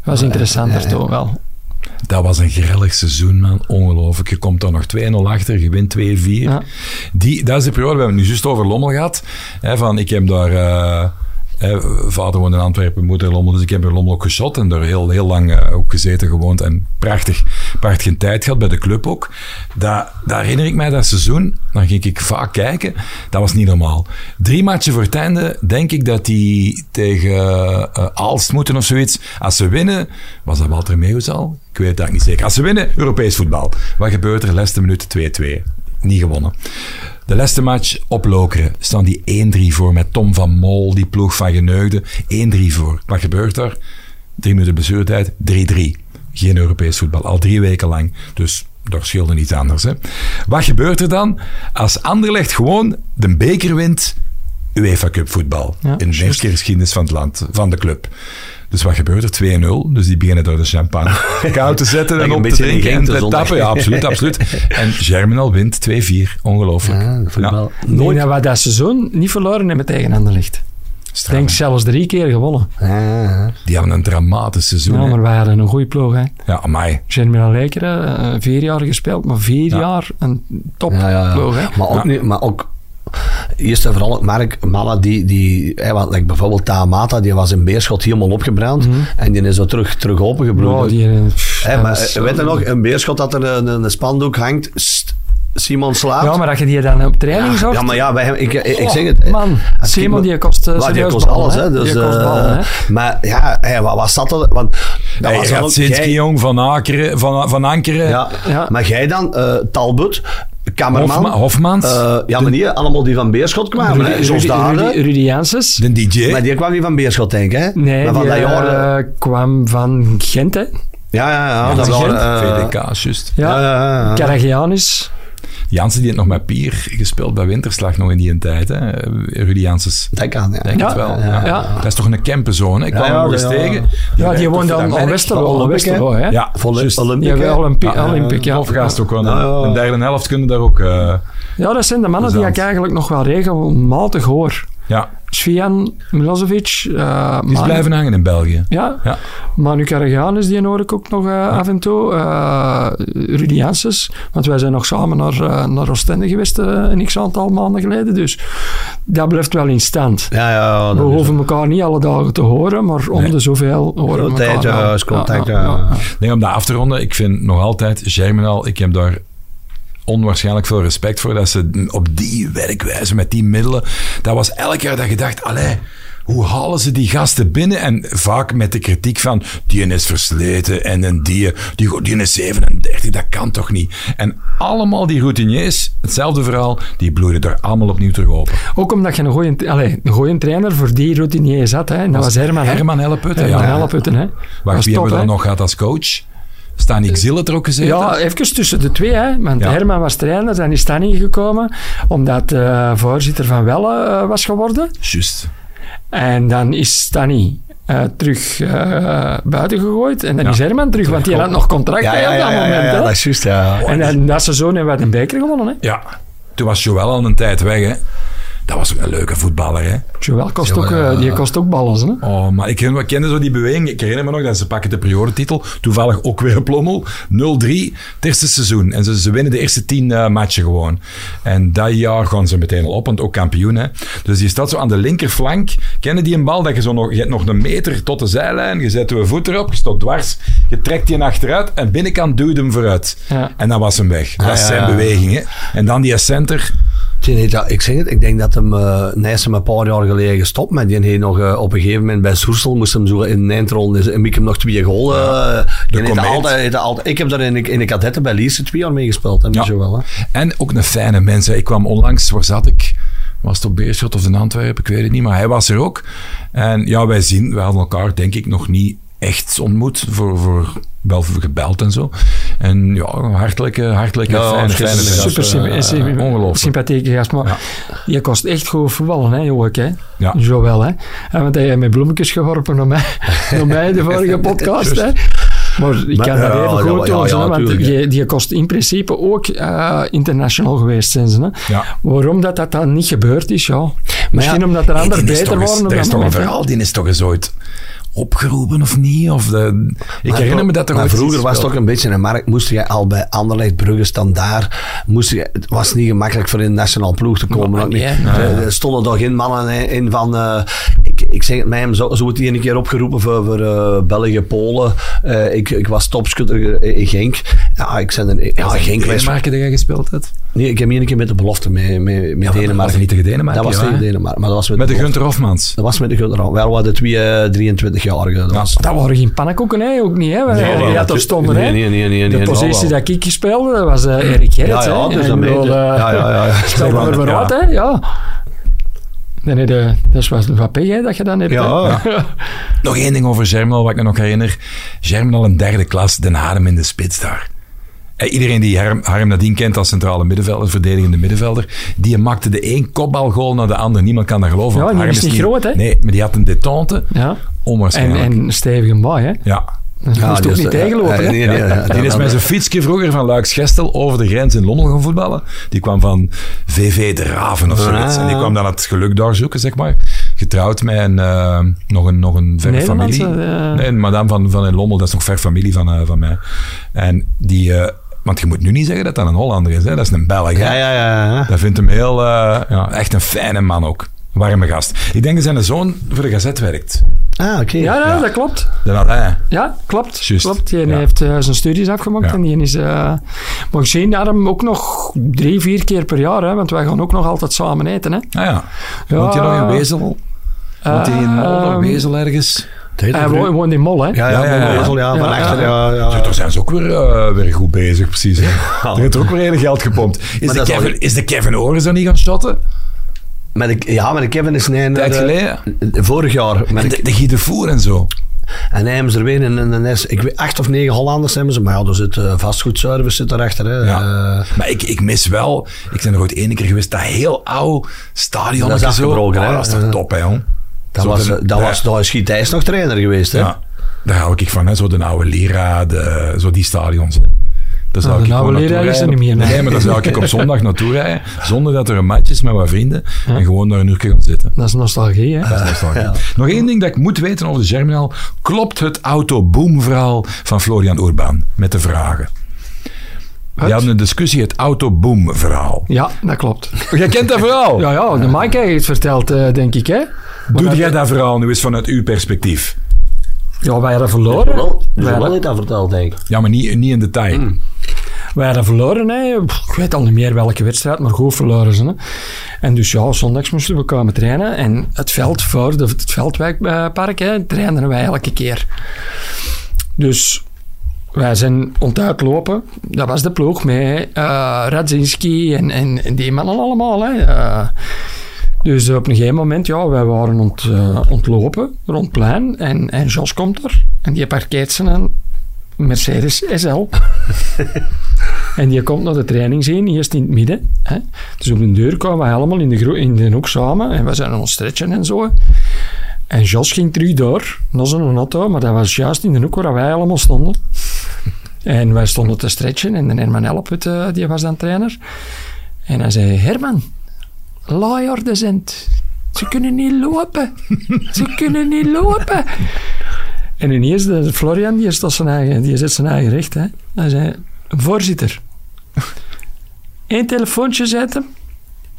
Ah, was interessanter toch wel. Dat was een grillig seizoen, man. Ongelooflijk. Je komt dan nog 2-0 achter, je wint 2-4. Ja. Die, dat is de periode, we hebben het nu juist over Lommel gehad. Hè, van, ik heb daar... eh, hè, vader woont in Antwerpen, moeder in Lommel. Dus ik heb in Lommel ook geschot en daar heel, heel lang eh, ook gezeten, gewoond. En prachtig, prachtig tijd gehad, bij de club ook. Dat, dat herinner ik mij dat seizoen. Dan ging ik vaak kijken. Dat was niet normaal. Drie matchen voor het einde, denk ik dat die tegen eh, Aalst moeten of zoiets. Als ze winnen, was dat Walter Meeuws al? Ik weet het eigenlijk niet zeker. Als ze winnen, Europees voetbal. Wat gebeurt er? Laatste minuut 2-2. Niet gewonnen. De laatste match op Lokeren staan die 1-3 voor met Tom van Mol, die ploeg van Geneugde. 1-3 voor. Wat gebeurt er? Drie minuten blessuretijd, 3-3. Geen Europees voetbal, al drie weken lang. Dus daar scheelde niets anders. Hè. Wat gebeurt er dan als Anderlecht gewoon de beker wint? UEFA Cup voetbal. Ja, in de eerste geschiedenis van het land, van de club. Dus wat gebeurt er? 2-0. Dus die beginnen door de champagne koud te zetten en een op te beetje in drinken en Gent de te zondag. tappen. Ja, absoluut, absoluut. En Germinal wint 2-4. Ongelooflijk. Ah, Ja, Ja. voetbal. Ik denk dat we dat seizoen niet verloren hebben tegen Anderlecht. Ik Straf, denk hè. zelfs drie keer gewonnen. Ah, Die hebben een dramatisch seizoen. Ja, hè. maar wij hadden een goede ploeg. Hè. Ja, amai. Germinal Lekeren, eh, vier jaar gespeeld, maar vier Ja. jaar een top Ja, ja, ja. ploeg. Hè. Maar ook, Ja. niet- maar ook eerst en vooral ook Mark Mala, die, die hij was, like bijvoorbeeld Tamata, die was in Beerschot helemaal opgebrand en die is zo terug, terug Bro, opengebloeid. Mhm. die, eh, pff, Hé, dat maar is- eh, weet je nog, in Beerschot dat er een, een spandoek hangt, Sst, Simon slaapt. Ja, maar dat je die dan op training zorgt. Ja, maar ja, wij, hebben- ik, ik, ik Oh, zeg het. hè. Man, Als ik Simon me- die kost, eh, Ja, die serieus kost ballen, alles, hè. hè. Dus, Die kost eh, ballen, hè. maar ja, hé, wat was dat? er? Want, dat Hij was gaat wel- Sitski, jij- jong, van, Akeren, van, van Ankeren, ja, Ja. Maar jij dan, eh Talbot, Kammerman. Hofma- Hofmans. eh, ja, maar niet allemaal die van Beerschot kwamen. hè. Rudy, eh, Zoals daar, hè. Rudy, Rudy Janssens. de DJ. Maar die kwam niet van Beerschot, denk ik, hè? Nee, maar van die dat jaar, eh, Ah. eh, kwam van Gent, hè. Ja, ja, ja. dat Jansen, waren, eh, VDK, juist. Ja, Ja, ja, ja, ja. Karagianis. Jansen die heeft nog met Pier gespeeld bij Winterslag nog in die tijd. Hè? Rudy Janssens. Denk aan, ja. Denk Ja, het wel. ja, Ja. ja. Dat is toch een camperzoon. hè? Ik kwam Ja, hem nog ja, eens ja. tegen. Ja, die werkt woonde op aan, aan Vandaag. Westerlo. Aan Olympic, hè? Westerlo, hè. Ja, Volle juist. Olympic, Ja, hè. wel Olympi Ja, Olympic, ja. Hofgaast ook wel. Ja, ja. In de derde helft kunnen daar ook... eh, Ja, dat zijn de mannen die Plezant. ik eigenlijk nog wel regelmatig hoor. ja, Svian Milosevic. eh die is Manu- blijven hangen in België. Ja, Ja. Manu Karagianis, die hoor ik ook nog eh, af en toe. eh Rudy Janssens, want wij zijn nog samen naar, eh, naar Oostende geweest eh, een x-aantal maanden geleden. Dus dat blijft wel in stand. Ja, ja, ja. We dus- dat is- hoeven elkaar niet alle dagen te horen, maar om de zoveel horen we elkaar. Tijd, wel. eh, ja, is contact, Ja, ja, ja. ja. Nee, om dat af te ronden, ik vind nog altijd Germinal, ik heb daar onwaarschijnlijk veel respect voor dat ze op die werkwijze, met die middelen, dat was elk jaar dat je dacht, allee, hoe halen ze die gasten binnen? En vaak met de kritiek van, die is versleten en een die, die, die is 37, dat kan toch niet? En allemaal die routiniers, hetzelfde verhaal, die bloeiden er allemaal opnieuw terug open. Ook omdat je een goeie, allez, een goeie trainer voor die routinier zat. Hè. En dat was Herman. hè. Herman Helleputte, Herman ja. Helleputten, hè. Dat Wacht, was wie top, hebben we hè. dan nog gehad als coach? Staan ik Zillet er ook gezeten? Ja, even tussen de twee, hè. Want Ja. Herman was trainer, dan is Stanny gekomen, omdat eh, voorzitter van Welle eh, was geworden. Juist. En dan is Stanny eh, terug eh, buiten gegooid. En dan is Herman terug, want die had nog contract Ja, bij ja, op dat ja, ja, moment. ja, hè. dat is juist, ja. en dan, dat seizoen hebben wij de beker gewonnen. Hè. Ja, toen was Joël al een tijd weg, hè. Dat was ook een leuke voetballer, hè. Joël kost, ook, eh, die kost ook ballen. Hè. Oh, maar ik ken- we kenden zo die beweging. Ik herinner me nog dat ze pakken de priorititel. Toevallig ook weer een plommel. 0-3, het eerste seizoen. En ze, ze winnen de eerste tien eh, matchen gewoon. En dat jaar gaan ze meteen al op, want ook kampioen. Hè. Dus die staat zo aan de linkerflank. Kennen die een bal dat je zo nog, je hebt nog een meter tot de zijlijn. Je zet je voet erop, je staat dwars. Je trekt die achteruit en binnenkant duwt hem vooruit. Ja. En dan was hem weg. Dat Ah, ja, zijn ja. bewegingen. En dan die center. Die heeft dat- ik zeg het, ik denk dat hem eh Nijs hem een paar jaar geleden gestopt met. Die heeft nog eh, op een gegeven moment bij Soersel moest hem zo in de eindrol en Miek hem nog twee golen. eh, die heeft komeet. altijd, heeft altijd, ik heb daar in, de- in de kadetten bij Lierse twee jaar meegespeeld. Ja. Ja. Wel, hè. En ook een fijne mens. hè. Ik kwam onlangs, waar zat ik? Was het op Beerschot of in Antwerpen? Ik weet het niet, maar hij was er ook. En ja, wij zien, wij hadden elkaar denk ik nog niet echt ontmoet. Voor, voor, wel voor gebeld en zo. En ja, een hartelijke, hartelijke, Ja, fijne, het is fijne een vent. Super symp- Eh, eh, symp- Ongelooflijk. sympathieke gast. Maar je kost echt goed voetballen, hè, Joak, hè? Ja. Joël, hè? En want hij heeft met bloemetjes geworpen naar mij, naar mij in de vorige podcast, hè? Maar ik Maar- kan dat ja, even ja, goed ja, doen, ja, hè, want tuurlijk, hè. je, die kost in principe ook eh, internationaal geweest zijn. Ze, hè? Ja. Waarom dat, dat dan niet gebeurd is, ja. Misschien ja, omdat er Hey, die anderen is toch beter eens- waren op Er is dat toch een moment. hè. verhaal, die is toch eens ooit opgeroepen of niet? Of de, ik herinner me dat er Maar ooit vroeger iets was het wel- ook een beetje een markt. Moest je al bij Anderlecht, Brugge, Standaard. Moest je, het was niet gemakkelijk voor in de nationaal ploeg te komen. ook niet. Er er stonden toch geen mannen in van. eh, ik, ik zeg het mij, hem, zo, zo wordt hij een keer opgeroepen voor, voor eh, België, Polen. Eh, ik, ik was topschutter eh, in Genk. Ja, ik zei dan, ja, Genk was. Denemarken dat jij gespeeld hebt? Nee, ik heb één keer met de belofte mee, mee, met dat was Denemarken. niet tegen Denemarken, Dat was ja, tegen hè? Denemarken. Maar dat was met, Met de belofte. Gunter Hofmans. Dat was met de Gunter. Wel waren de twee eh, 23-jarigen. Dat was- Dat waren geen pannenkoeken, hè? Ook niet, hè? Waar Nee, die nee, dat er stonden, hè? nee, nee, nee, nee, de nee, positie jawel. dat ik speelde, dat was eh, Erik Gerrits, Ja, ja, hè? dus Ik dan bedoel, weet je- eh, ja, ja, ja. Stel maar Ja. vooruit, hè? Ja. Nee, nee, de, dat is wat, wat pech, hè, dat je dan hebt. hè. Ja. Nog één ding over Germinal, wat ik me nog herinner. Germinal een derde klas, Den Harem in de spits daar. Eh, Iedereen die Harm, Harm Nadien kent als centrale middenvelder, verdedigende middenvelder, die maakte de één kopbalgoal naar de ander. Niemand kan dat geloven. Ja, want die Harm is niet groot, hè? Nee, maar die had een detente. Ja. En, Onwaarschijnlijk. en stevige baai, hè? ja. Dat Ja, dus, eh, moest die ook is- niet tegenlopen, hè? ja, nee, nee, ja, ja. die is met zijn fietsje vroeger van Luiks-Gestel over de grens in Lommel gaan voetballen. Die kwam van VV de Raven of zoiets. Ah. En die kwam dan het geluk daar zoeken, zeg maar. Getrouwd met een, eh, nog een, nog een verre Nederlandse, familie. eh. Nee, een madame van, van in Lommel, dat is nog ver familie van, eh, van mij. En die... eh, want je moet nu niet zeggen dat dat een Hollander is, hè? dat is een Belg. hè. Ja, ja, ja. ja. Dat vindt hem heel... eh, ja, echt een fijne man ook. Warme gast. Ik denk dat zijn zoon voor de Gazet werkt. Ah, oké. Ja, ja, dat klopt. De Alain. Ja, klopt. Juist, klopt. Die ja. heeft eh, zijn studies afgemaakt Ja. en die is... eh maar ik zie daarom ook nog drie, vier keer per jaar, hè? Want wij gaan ook nog altijd samen eten, hè? Ah ja. Woont hij nog in Wezel? Woont hij in Molder, Ehm, Wezel ergens? Hij wo- woont in Mol, hè? Ja, Ja, ja, ja, ja. ja. Wezel, ja, van Ja, achter, ja. ja, ja. Zo, daar zijn ze ook weer, eh, weer goed bezig, precies. Hè. Er heeft er ook weer heel geld gepompt. Is, Maar de dat is al- Kevin, is de Kevin Ores dan niet gaan shotten? Maar de, ja, maar de Kevin is nee, Tijd eh, geleden. Vorig jaar. Maar En de- de, de Guy de Voer en zo. en hij hebben ze er weer in. En, en is, ik weet, acht of negen Hollanders hebben ze. Maar ja, er zit eh, vastgoedservice zit erachter. Hè. Ja. Eh, maar ik, ik mis wel, ik ben er ooit één keer geweest, dat heel oud stadion. Dat is en zo. afgebroken, hè? Ah, Dat is toch Ja. top, hè, jong? dat Zo was, de- eh, dat ja. was, daar is Giet Thijs nog trainer geweest. Hè. Ja, daar hou ik van, hè. Zo de oude Lira, de, zo die stadions. Hè. Daar zou de ik oude gewoon Lira naartoe is er rijden. niet meer, nee. Nee, maar daar zou ik op zondag naartoe rijden, zonder dat er een match is met wat vrienden, en gewoon daar een uurtje gaan zitten. Dat is nostalgie, hè? Dat is nostalgie. Nog één ding dat ik moet weten over de Germinal. Klopt het autoboom-verhaal van Florian Urbaan met de vragen? Die hadden een discussie, het autoboom-verhaal. Ja, dat klopt. Jij kent dat verhaal? Ja, ja, de Mike heeft het verteld, eh, denk ik, hè? Doe jij dat verhaal nu eens vanuit uw perspectief? Ja, wij hadden verloren. Wel, Wij wel hadden- heeft dat verteld, denk ik. Ja, maar niet, niet in detail. Wij hadden verloren, hè. Pff, ik weet al niet meer welke wedstrijd, maar goed verloren ze. Hè. En dus ja, zondags moesten we komen trainen. En het veld voor de, het Veldwijkpark hè, trainden wij elke keer. Dus wij zijn ontuit lopen. Dat was de ploeg met eh Radzinski en, en, en die mannen allemaal. Hè. Eh, dus op een gegeven moment, ja, wij waren ont, eh, ontlopen rond het plein. En, en Jos komt er en die parkeert zijn Mercedes SL. En die komt naar de training zien, eerst in het midden. Hè. Dus op de deur kwamen wij allemaal in de, gro- in de hoek samen en we zijn aan ons stretchen en zo. hè. En Jos ging terug door, naar zijn auto, maar dat was juist in de hoek waar wij allemaal stonden. En wij stonden te stretchen en de Herman Elput, eh, die was dan trainer. En hij zei, Herman, laaier de zend. Ze kunnen niet lopen. Ze kunnen niet lopen. En ineens, de Florian, die, is tot zijn eigen, die zet zijn eigen recht. Hè. Hij zei, voorzitter. Eén telefoontje zetten.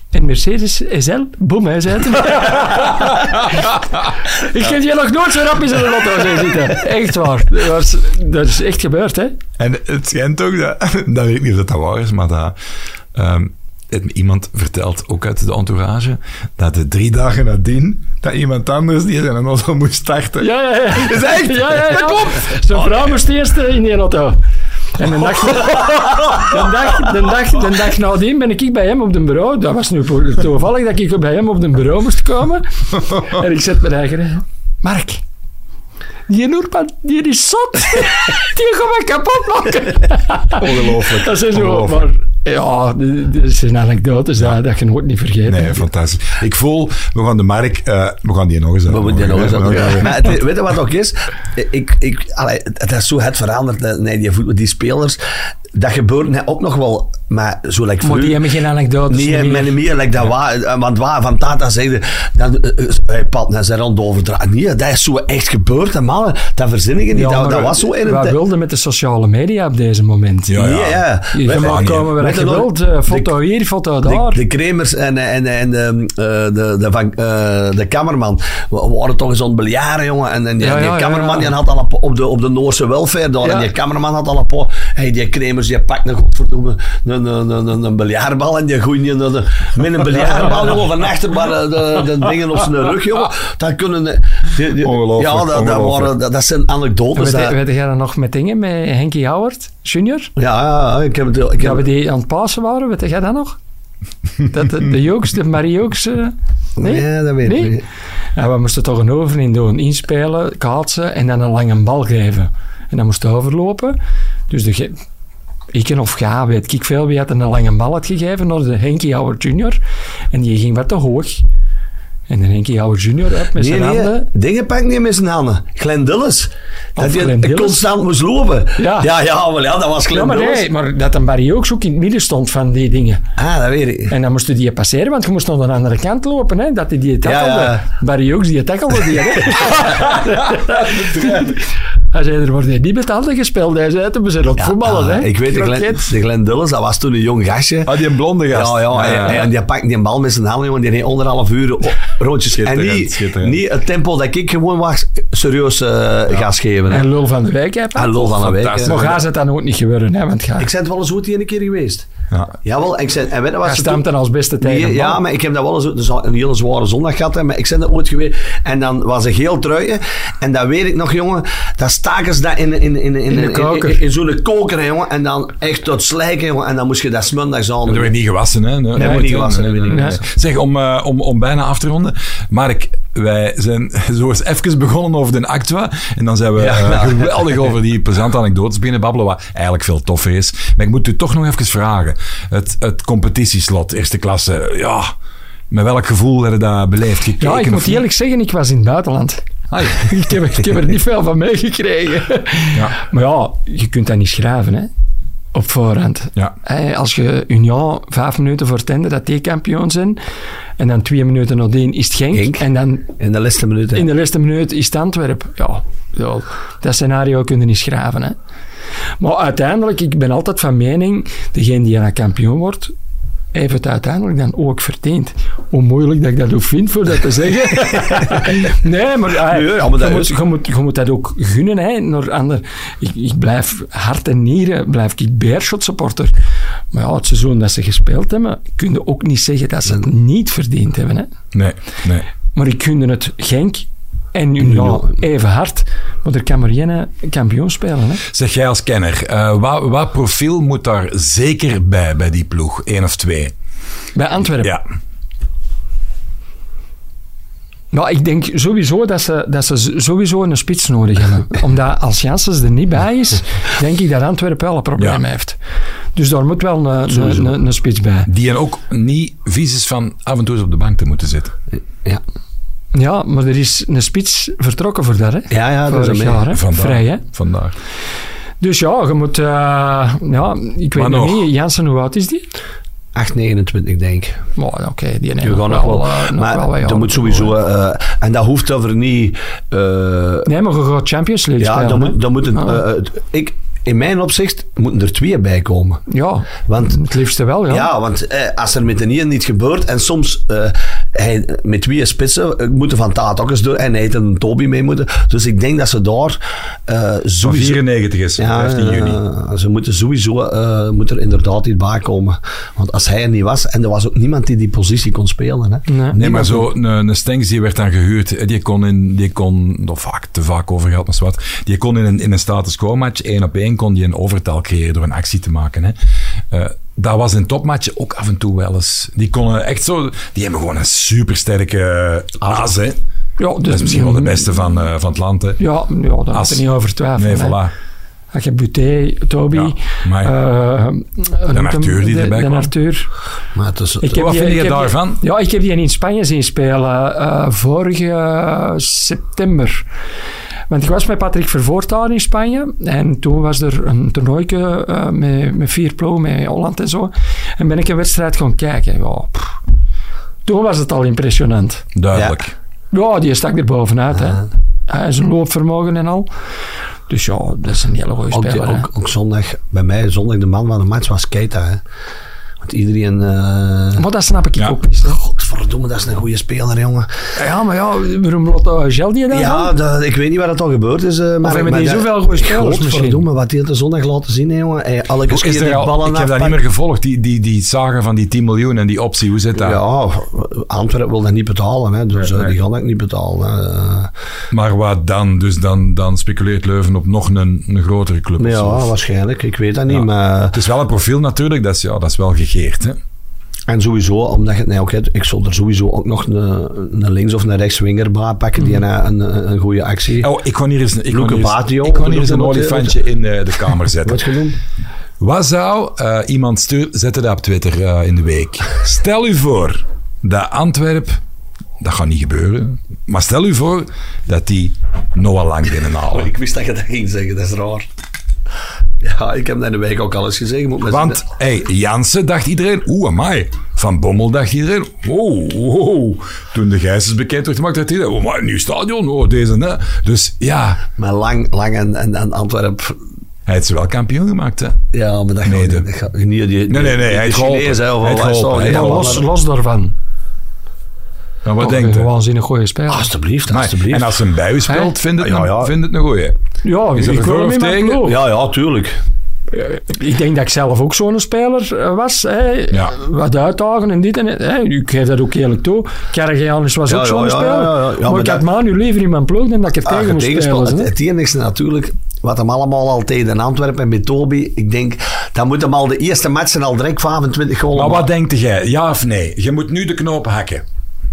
En Mercedes SL, boem, hij zei het. Ik heb je nog nooit zo rap in zijn lotto zien zitten. Echt waar. Dat, was, dat is echt gebeurd, hè. En het schijnt ook dat, dat weet ik niet of dat, dat waar is, maar dat. ehm, het- iemand vertelt ook uit de entourage dat de drie dagen nadien dat iemand anders die zijn auto moest starten. Ja, ja, ja. Dat is echt? Ja, ja, ja. Dat klopt. Zijn vrouw moest eerst eh, in die auto. En de dag, de, dag, de, dag, de dag nadien ben ik bij hem op de bureau. Dat was nu voor- toevallig dat ik bij hem op de bureau moest komen. En ik zet mijn eigen... Mark, die Noerpan, die is zot. Die gaat mij kapot maken. Ongelooflijk. Dat zijn zo... Ongelooflijk. Maar, ja, dat zijn anekdotes dat, dat je nooit niet vergeet. Nee, fantastisch. Ik voel, we gaan de Mark, eh, we gaan die nog eens We moeten die nog eens uitnodigen, hè. Maar het, weet je wat ook is? Ik, ik, allee, het is zo het veranderd. hè. Nee, die, voet- die spelers, dat gebeurt net ook nog wel. Maar zo like Maar die vroeger- hebben geen anekdotes Nee, meer. maar niet meer. Like dat waar, want waar Van Tata zeiden, dan eh, eh, hey, pad naar zijn rond overdragen. Nee, dat is zo echt gebeurd. hè, mannen. dat verzinnen je niet. Ja, dat, dat maar was zo in een Wij tijd. wilden met de sociale media op deze moment. Ja, Nee, ja. Je Weet- mag niet. komen waar Weet je je nog- wilt. eh, Foto hier, foto daar. De, de Kremers en, en, en ehm, eh, de, de, van, eh, de Kammerman we waren toch eens aan het biljaren, jongen. En, en die, Ja, die ja, Kammerman ja. Die had al een po- op, de, op de Noorse welfare daar. Ja. En die Kammerman had al een po. Hey, die Kremers die pakt een godverdomme een, een, een, een, een biljaarbal en die gooit die een- een- met een biljaarbal jongen, van achter maar de, de, de dingen op zijn rug, jongen. Dat kunnen... de- die- die- Ongelooflijk, Ja, dat, dat, ongelooflijk. waren, dat, dat zijn anekdotes. weet, dat- je- weet jij dat nog met dingen, met Henkie Howard, junior? ja, ja, ik heb het... Ik Dat we heb, die aan het pasen waren, weet jij dat nog? Dat de, de Jooks, de Marie Jooks... eh, nee? Ja, dat weet ik Nee? niet. En we moesten toch een oven in doen, inspelen, kaatsen en dan een lange bal geven. En dan moest hij overlopen. Dus de ge- ik en of ga, weet ik veel, wie had een lange bal had gegeven naar de Henkie Howard junior. En die ging wat te hoog. En de Henkie Howard junior uit met Nee, zijn nee, handen. dingen pak ik niet met zijn handen. Glendillis. Dat je Glenn Dillis. constant moest lopen. Ja. ja, ja, wel, ja dat was Ja, maar, Glendillis. nee, maar dat een Barry ook zo in het midden stond van die dingen. Ah, dat weet ik. En dan moesten die passeren, want je moest naar de andere kant lopen, hè, dat hij die tackelde. ja. Barry Oaks, die tackelde die. hè. Hij zei, er wordt hier niet met handen gespeeld. Hij zei, we zijn op het voetballen. Ah, hè. Ik weet, de Glenn, Kroket. de Glendillis, dat was toen een jong gastje. Ah, die een blonde gast. Ja, ja, en- En, die pakt die bal met zijn handen, jongen. Die heeft anderhalf uur o- rondjes. En Schitterend, niet, schitterend. niet het tempo dat ik gewoon was, serieus eh gas geven. En En, Lul van de Wijk, hè. en lol van de week. Fantastisch. Maar hè. ga ze het dan ook niet gebeuren, hè, want ga, Ik ben het wel eens goed die ene keer geweest. Ja. Jawel, en ik zei, en weet je wat ga ze toen- stamt dan als beste tegen. Nee, de bal. ja, maar ik heb dat wel eens dus al een hele zware zondag gehad. hè, Maar ik ben er ooit geweest. En dan was ik heel truien. En dat weet ik nog, jongen. Dan staken ze dat in, in, in, in, in, de koker. in- in zo'n koker, hè, jongen. En dan echt tot slijken, jongen. En dan moest je dat smiddags aan Dat doen. werd niet gewassen, hè? Nee, werd niet gewassen, dat werd niet Zeg, om, eh, om, om bijna af te ronden. Mark, wij zijn zo eens even begonnen over de Actua. En dan zijn we Ja. eh, geweldig over die plezante anekdotes beginnen babbelen, wat eigenlijk veel toffer is. Maar ik moet u toch nog even vragen. Het, het competitieslot, eerste klasse, ja... Met welk gevoel hebben je dat beleefd? Gekeken Ja, ik of moet niet? eerlijk zeggen, ik was in het buitenland. Ai. ik, heb, ik heb er niet veel van meegekregen. Ja. Maar ja, je kunt dat niet schrijven, hè? Op voorhand. Ja. Hè, als je Union vijf minuten voor tende dat die kampioen zijn, en dan twee minuten nadien is het Genk, Genk. en dan In de laatste minuten. in de laatste minuut is het Antwerp. Ja, ja, dat scenario kun je niet schraven. Hè? Maar uiteindelijk, ik ben altijd van mening, degene die dan kampioen wordt, heeft het uiteindelijk dan ook verdiend. Hoe moeilijk dat ik dat ook vind voor dat te zeggen. nee, maar, ah, Nee, ja, maar dat je, moet, is- je, moet, je moet dat ook gunnen. Hè, naar ander. Ik, ik blijf hart en nieren, blijf ik Beerschot supporter. Maar ja, het seizoen dat ze gespeeld hebben, kun je ook niet zeggen dat ze Mm. het niet verdiend hebben. Hè. Nee, nee. Maar ik gunde het Genk en Union even hard. Maar er kan maar geen eh, kampioen spelen. Hè? Zeg jij als kenner, eh wat, wat profiel moet daar zeker bij, bij die ploeg? Eén of twee? Bij Antwerpen. Ja. Nou, ik denk sowieso dat ze, dat ze z- sowieso een spits nodig hebben. Omdat als Janssens er niet bij is, denk ik dat Antwerpen wel een probleem Ja. heeft. Dus daar moet wel een, een, een, een spits bij. Die en ook niet vies is van af en toe eens op de bank te moeten zitten. Ja, Ja, maar er is een spits vertrokken voor dat, hè? ja, ja dat is Vorig een jaar, hè? Vandaag. Vrij, hè? Vandaag. Dus ja, je moet... eh, ja, ik weet Maar nog nog. niet. Jansen, hoe oud is die? 8,29 denk ik. Maar oké, die Je neemt gaat nog nog wel, wel. eh, nog wel wat Maar dat jaren moet toe, sowieso. hè. eh, en dat hoeft over niet. eh, Nee, maar je gaat Champions League ja, spelen, dan hè. moet, dan moet een, Ah. eh, eh, ik, in mijn opzicht moeten er twee bij komen. Ja, Want het liefste wel, ja. Ja, want eh, als er met de nier niet gebeurt en soms eh, hij, met wie spitsen eh, moeten van Taat ook eens door en hij heeft een Toby mee moeten. Dus ik denk dat ze daar eh Van sowieso... 94 is, 15 eh, juni. ze moeten sowieso eh, moet er inderdaad iets bij komen. Want als hij er niet was, en er was ook niemand die die positie kon spelen. Hè. Nee. Nee, maar zo, een, een Stengs die werd dan gehuurd. hè, Die kon, in, die kon of vaak, te vaak over gehad, maar wat. Die kon in een, in een status quo match, één op één, kon die een overtal creëren door een actie te maken. Hè. Eh, dat was in topmatchen ook af en toe wel eens. Die konden echt zo... Die hebben gewoon een supersterke as, hè. Ja, dus, Dat is misschien wel de beste van, eh, van het land, hè. Ja, ja daar As. moet je niet over twijfelen. Nee, hè. voilà. Je hebt Buté, Toby... Ja, maar- eh, hoe noemt Arthur hem? die De- erbij de kwam. Arthur. Maar het is, Ik heb Wat die- vind ik je heb die- daarvan? Ja, ik heb die in Spanje zien spelen eh, vorige eh, september. Want ik was met Patrick Vervoort daar in Spanje. En toen was er een toernooitje eh, met, met vier ploegen, met Holland en zo. En ben ik een wedstrijd gaan kijken. Ja, pff. toen was het al impressionant. Duidelijk. Ja, die stak er bovenuit. Hè. Ah. Hij Hm. zijn loopvermogen en al. Dus ja, dat is een hele goede ook, die- speler. hè. ook, ook zondag, bij mij zondag de man van de match was Keita. Hè. Want iedereen... eh Maar dat snap ik Ja. ook niet. hè. Godverdomme, dat is een goede speler, jongen. Ja, maar ja, waarom laat Gel die dan? Ja, dat- ik weet niet wat dat al gebeurd is. eh, maar hebben maar die dat- zoveel goede spelers Godverdomme, wat die de zondag laten zien, hè, jongen. Hey, alle keer Is die er al, ballen ik heb dat niet meer afpakken. gevolgd, die, die, die zagen van die 10 miljoen en die optie. Hoe zit dat? Ja, Antwerpen wil dat niet betalen, hè, dus Nee, eh, nee. die gaan dat niet betalen. hè. Eh, Maar wat dan? Dus dan, dan speculeert Leuven op nog een, een grotere club. maar of ja, zo. waarschijnlijk, ik weet dat niet. Ja. Maar, Het is wel een profiel natuurlijk, dat is, ja, dat is wel gegeerd. Hè? en sowieso, omdat je het nee, ook hebt, ik zal er sowieso ook nog een, een links- of een rechtswinger bij pakken Mhm. die een, een, een goede actie Oh, ik kon hier eens, ik kon Luke hier eens, Batio, ik kon hier eens een Luke- olifantje in eh, de kamer wordt zetten. genoemd. Wat zou eh, iemand stuur, zette dat op Twitter eh, in de week. Stel u voor dat Antwerp, dat gaat niet gebeuren, maar stel u voor dat die Noah Lang binnenhalen. Oh, Ik wist dat je dat ging zeggen, dat is raar. Ja, ik heb dat in de week ook al eens gezegd. je moet maar Want hey, Jansen dacht iedereen, oeh, amai. Van Bommel dacht iedereen, oh, oh, oh. Toen de Gijsers bekend werd gemaakt, dacht iedereen, oh, maar een nieuw stadion, oh, deze, hè. Dus ja, Maar lang, lang en, en, en Antwerp. hij heeft ze wel kampioen gemaakt, hè. Ja, maar dat gaat Nee, niet. de- Dat gaat, niet die, nee, nee, hij heeft geholpen. Chinees, hè, of Hij heeft wat, geholpen, sorry, hij ja, heeft Maar maar- los, los daarvan. Maar wat Toch denkt een u? waanzinnig goede speler. Alsjeblieft, Amai. Oh, alsjeblieft. En als een bui speelt, Hey? vindt het, Ja, een- ja. Vindt het een goeie. ja, Is dat ik ervoor wil of hem in mijn tegen? ploeg. ja, ja, tuurlijk. Ah, Ik denk dat ik zelf ook zo'n speler eh, was. hè. Ja. Wat uitdagen en dit en dat. hè. Ik geef dat ook eerlijk toe. Karagianis was Ja, ook ja, zo'n ja, speler. ja, ja, ja. Ja, maar, maar ik had dat- Manu liever in mijn ploeg dan dat ik er Ah, tegen moest tegenspel. spelen. Het, hè. het enigste natuurlijk, wat hem allemaal al tegen Antwerpen en met Toby, ik denk, dan moet hem al de eerste matchen al direct 25 goals Maar wat maken. denkt jij? Ja of nee? Je moet nu de knoop hakken.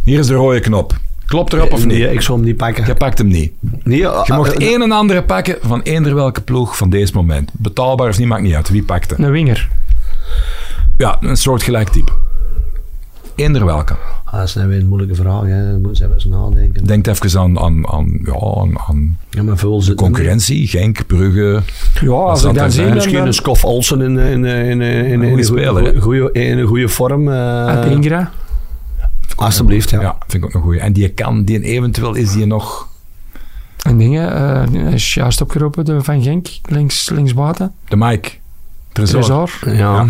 Hier is de rode knop. Klopt erop of Nee, niet? ik zou hem niet pakken. Je pakt hem niet. Nee, eh, Je mocht eh, één en andere pakken van eender welke ploeg van deze moment. Betaalbaar of niet, maakt niet uit. Wie pakte? Een winger. Ja, een soort gelijk type. Eender welke. ah, Dat is nou weer een moeilijke vraag, hè. Daar moeten ze even eens nadenken. Denk even aan, aan, aan, ja, aan, aan Ja, maar vul ze concurrentie. Genk, Brugge. Ja, als zal ik er zijn. dat zie, dan, Misschien dan een Scoff Olsen in, eh, in, in, in, in, goede in, speler, goeie- hè. goeie- in een goede vorm. eh, Ad Ingra. alsjeblieft, ja. Ja, vind ik ook een goeie. En die kan, die eventueel is die nog... En dingen. eh, die is juist opgeroepen door Van Genk. Links, links buiten. De Mike. Trezor. Trezor. Ja.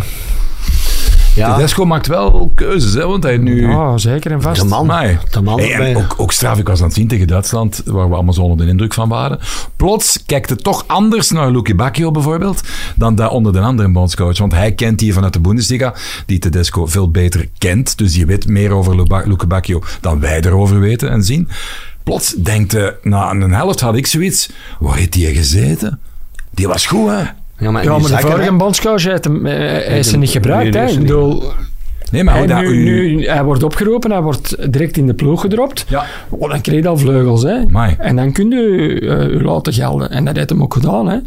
ja. Tedesco maakt wel keuzes, hè, want hij nu... Ja, zeker en vast. De man. Amai. De man Hey, en erbij. ook, ook straf, ik was aan het zien tegen Duitsland, waar we allemaal zo onder de indruk van waren. Plots kijkt het toch anders naar Lucky Bacchio bijvoorbeeld, dan daar onder de andere bondscoach. Want hij kent die vanuit de Bundesliga, die Tedesco veel beter kent. Dus je weet meer over Luba- Lucky Bacchio dan wij erover weten en zien. Plots denkt, eh, na een helft had ik zoiets, waar heeft die gezeten? Die was goed, hè? Ja, maar, in die Ja, maar de zakken, vorige hè. bondscoach heeft, hem, eh, hij is ze niet Nee, gebruikt. die hè. is Ik er niet. Nou, bedoel, Nee, maar hoe Hij dat nu, u- nu, hij wordt opgeroepen, hij wordt direct in de ploeg gedropt. Ja. Oh, dan kreeg je al vleugels. Hè. Amai. En dan kun je eh, u laten gelden. En dat heeft hem ook gedaan. Hè.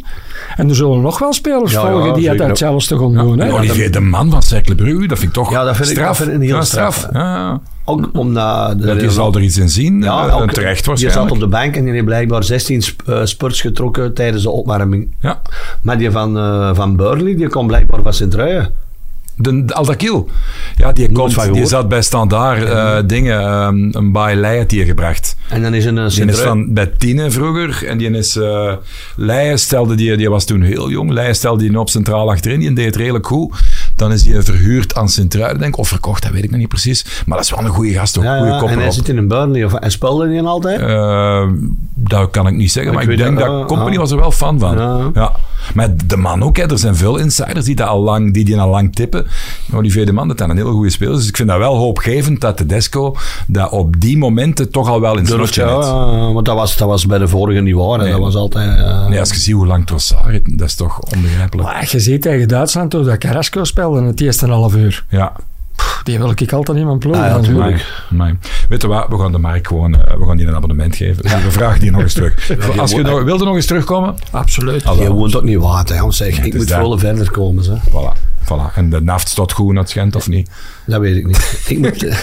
En er zullen nog wel spelers Ja, volgen ja, die dat zeker ook. zelfs te gaan doen. Hè. Ja, Olivier de man van Cercle Brugge, dat vind ik toch Ja, dat vind ik- straf. dat vind ik een heel Ja, straf, Ja. Ook omdat... de- Ja, die zal er iets in zien. Ja, ook- terecht Die waarschijnlijk. zat op de bank en die heeft blijkbaar 16 sp- eh, spurts getrokken tijdens de opwarming. Ja. Maar die van, eh, van Burnley, die komt blijkbaar van Sint-Truijen. De, de Aldakil. Ja, die, van komt, die gehoord. zat bij standaard eh, dingen, ehm, een baai Leijert hier gebracht. En dan is een eh, Die is Sint-Truijen... van bij Tine vroeger en die is eh Leijen stelde die, die was toen heel jong. Leijen stelde die op centraal achterin, die deed het redelijk goed. Dan is die verhuurd aan Sint-Truiden, denk ik, of verkocht, dat weet ik nog niet precies. Maar dat is wel een goede gast, ook. Ja, goede ja, en kopper hij op. zit in een Burnley. Of, en speelde die altijd? Eh, dat kan ik niet zeggen, Ik maar ik weet denk dat- dat ah, Company ah. was er wel fan van. Ja. Ja. Maar de man ook, hè. er zijn veel insiders die, dat al lang, die, die al lang tippen. Olivier de Man, dat zijn een hele goede speler. Dus ik vind dat wel hoopgevend dat Tedesco dat op die momenten toch al wel in Durft, slotje ja, had. eh, want dat was, dat was bij de vorige niet waar. hè. Nee. Dat was altijd... eh, Nee, als je ziet hoe lang Trossard het- dat is toch onbegrijpelijk. Maar je ziet tegen Duitsland toen dat Carrasco speelde in het eerste half uur. Ja, Pff, Die wil ik altijd in mijn ploeg. Ah, ja, natuurlijk. tuurlijk. maar, maar. Weet je wat, we gaan de Mark gewoon eh, we gaan die een abonnement geven. We vragen die nog eens terug. Als je nog, wilde nog eens terugkomen, Absoluut. Je woont ook niet water, hè, zeg. het ik is moet daar. veel verder komen, zeg. voilà. voilà. En de naft staat goed aan het Gent, of niet? Dat weet ik niet. ik moet eh,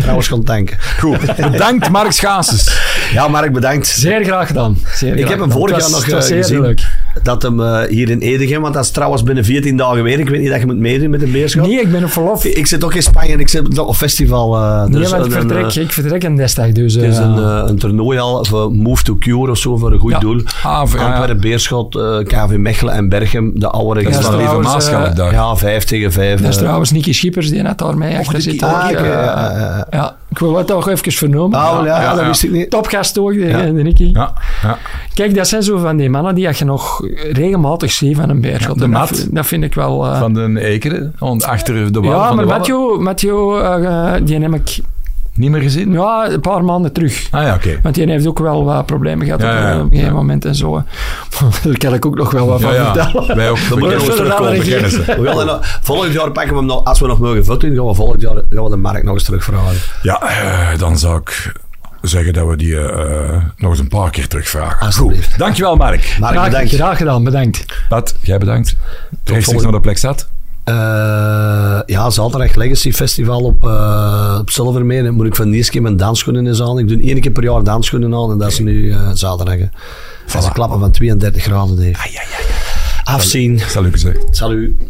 trouwens gaan tanken. Goed, bedankt Mark Schaases. Ja, Mark, bedankt. Zeer graag gedaan. Zeer Ik graag heb hem gedaan. vorig Het jaar was- nog het was eh, zeer gezien leuk. dat hem eh, hier in Edegem, want dat is trouwens binnen 14 dagen weer. Ik weet niet dat je moet meedoen met de beerschap. Nee, ik ben op verlof. Ik zit ook in Spanje en ik zit op festival. eh, Nee, dus want ik een, vertrek, eh, ik vertrek in Destag. Dus, het is eh, een, eh, een toernooi al voor Move to Cure of zo, voor een goed Ja. doel. Ah, voor- ja, ja. Antwerpen, Beerschot, eh, KV Mechelen en Berchem, de oude Dat is Ja, dan trouwens, even eh, Maasschalk daar. Ja, vijf tegen vijf. Dat is eh. trouwens Nicky Schippers, die net daar mee achter zit. Ah, ook, oké, eh, ja, ja, ja. ja. Ik wil wat toch even vernomen. Ah, wel, ja, ja, ja, dat ja. wist ik niet. Topgast ook, de, de Nicky. Ja, ja. Kijk, dat zijn zo van die mannen die je nog regelmatig ziet van een Ja, beerschot. de En Mat. Dat, vind- dat vind ik wel... eh, Van den Ekeren, on- achter de wal ja, van maar de Wallen. Mathieu, Mathieu eh, die heb ik Niet meer gezien? ja, een paar maanden terug. Ah ja, oké. Want die heeft ook wel wat problemen gehad Ja, op, ja, ja. een- op een gegeven moment en zo. Daar kan ik ook nog wel wat Ja, van vertellen. ja. Wij ook. We kennen moet je ons verder terugkomen, allergie. kennissen. We willen nog- volgend jaar pakken we hem nog, als we nog mogen voeten, gaan we volgend jaar gaan we de markt nog eens terugvragen. Ja, eh, dan zou ik zeggen dat we die eh, nog eens een paar keer terugvragen. Alsjeblieft. Dankjewel, Mark. Mark, Graag, bedankt. graag gedaan, bedankt. Pat, jij bedankt. Rechtstreeks volgende- naar de plek zat. Eh, ja, zaterdag Legacy Festival op, eh op Silvermeer. Dan moet ik van de eerste keer mijn dansschoenen eens aan. Ik doe één keer per jaar dansschoenen aan en dat is nu eh, zaterdag. hè. Dat is klappen van 32 graden. Dave. Afzien. Salut gezegd. Salut.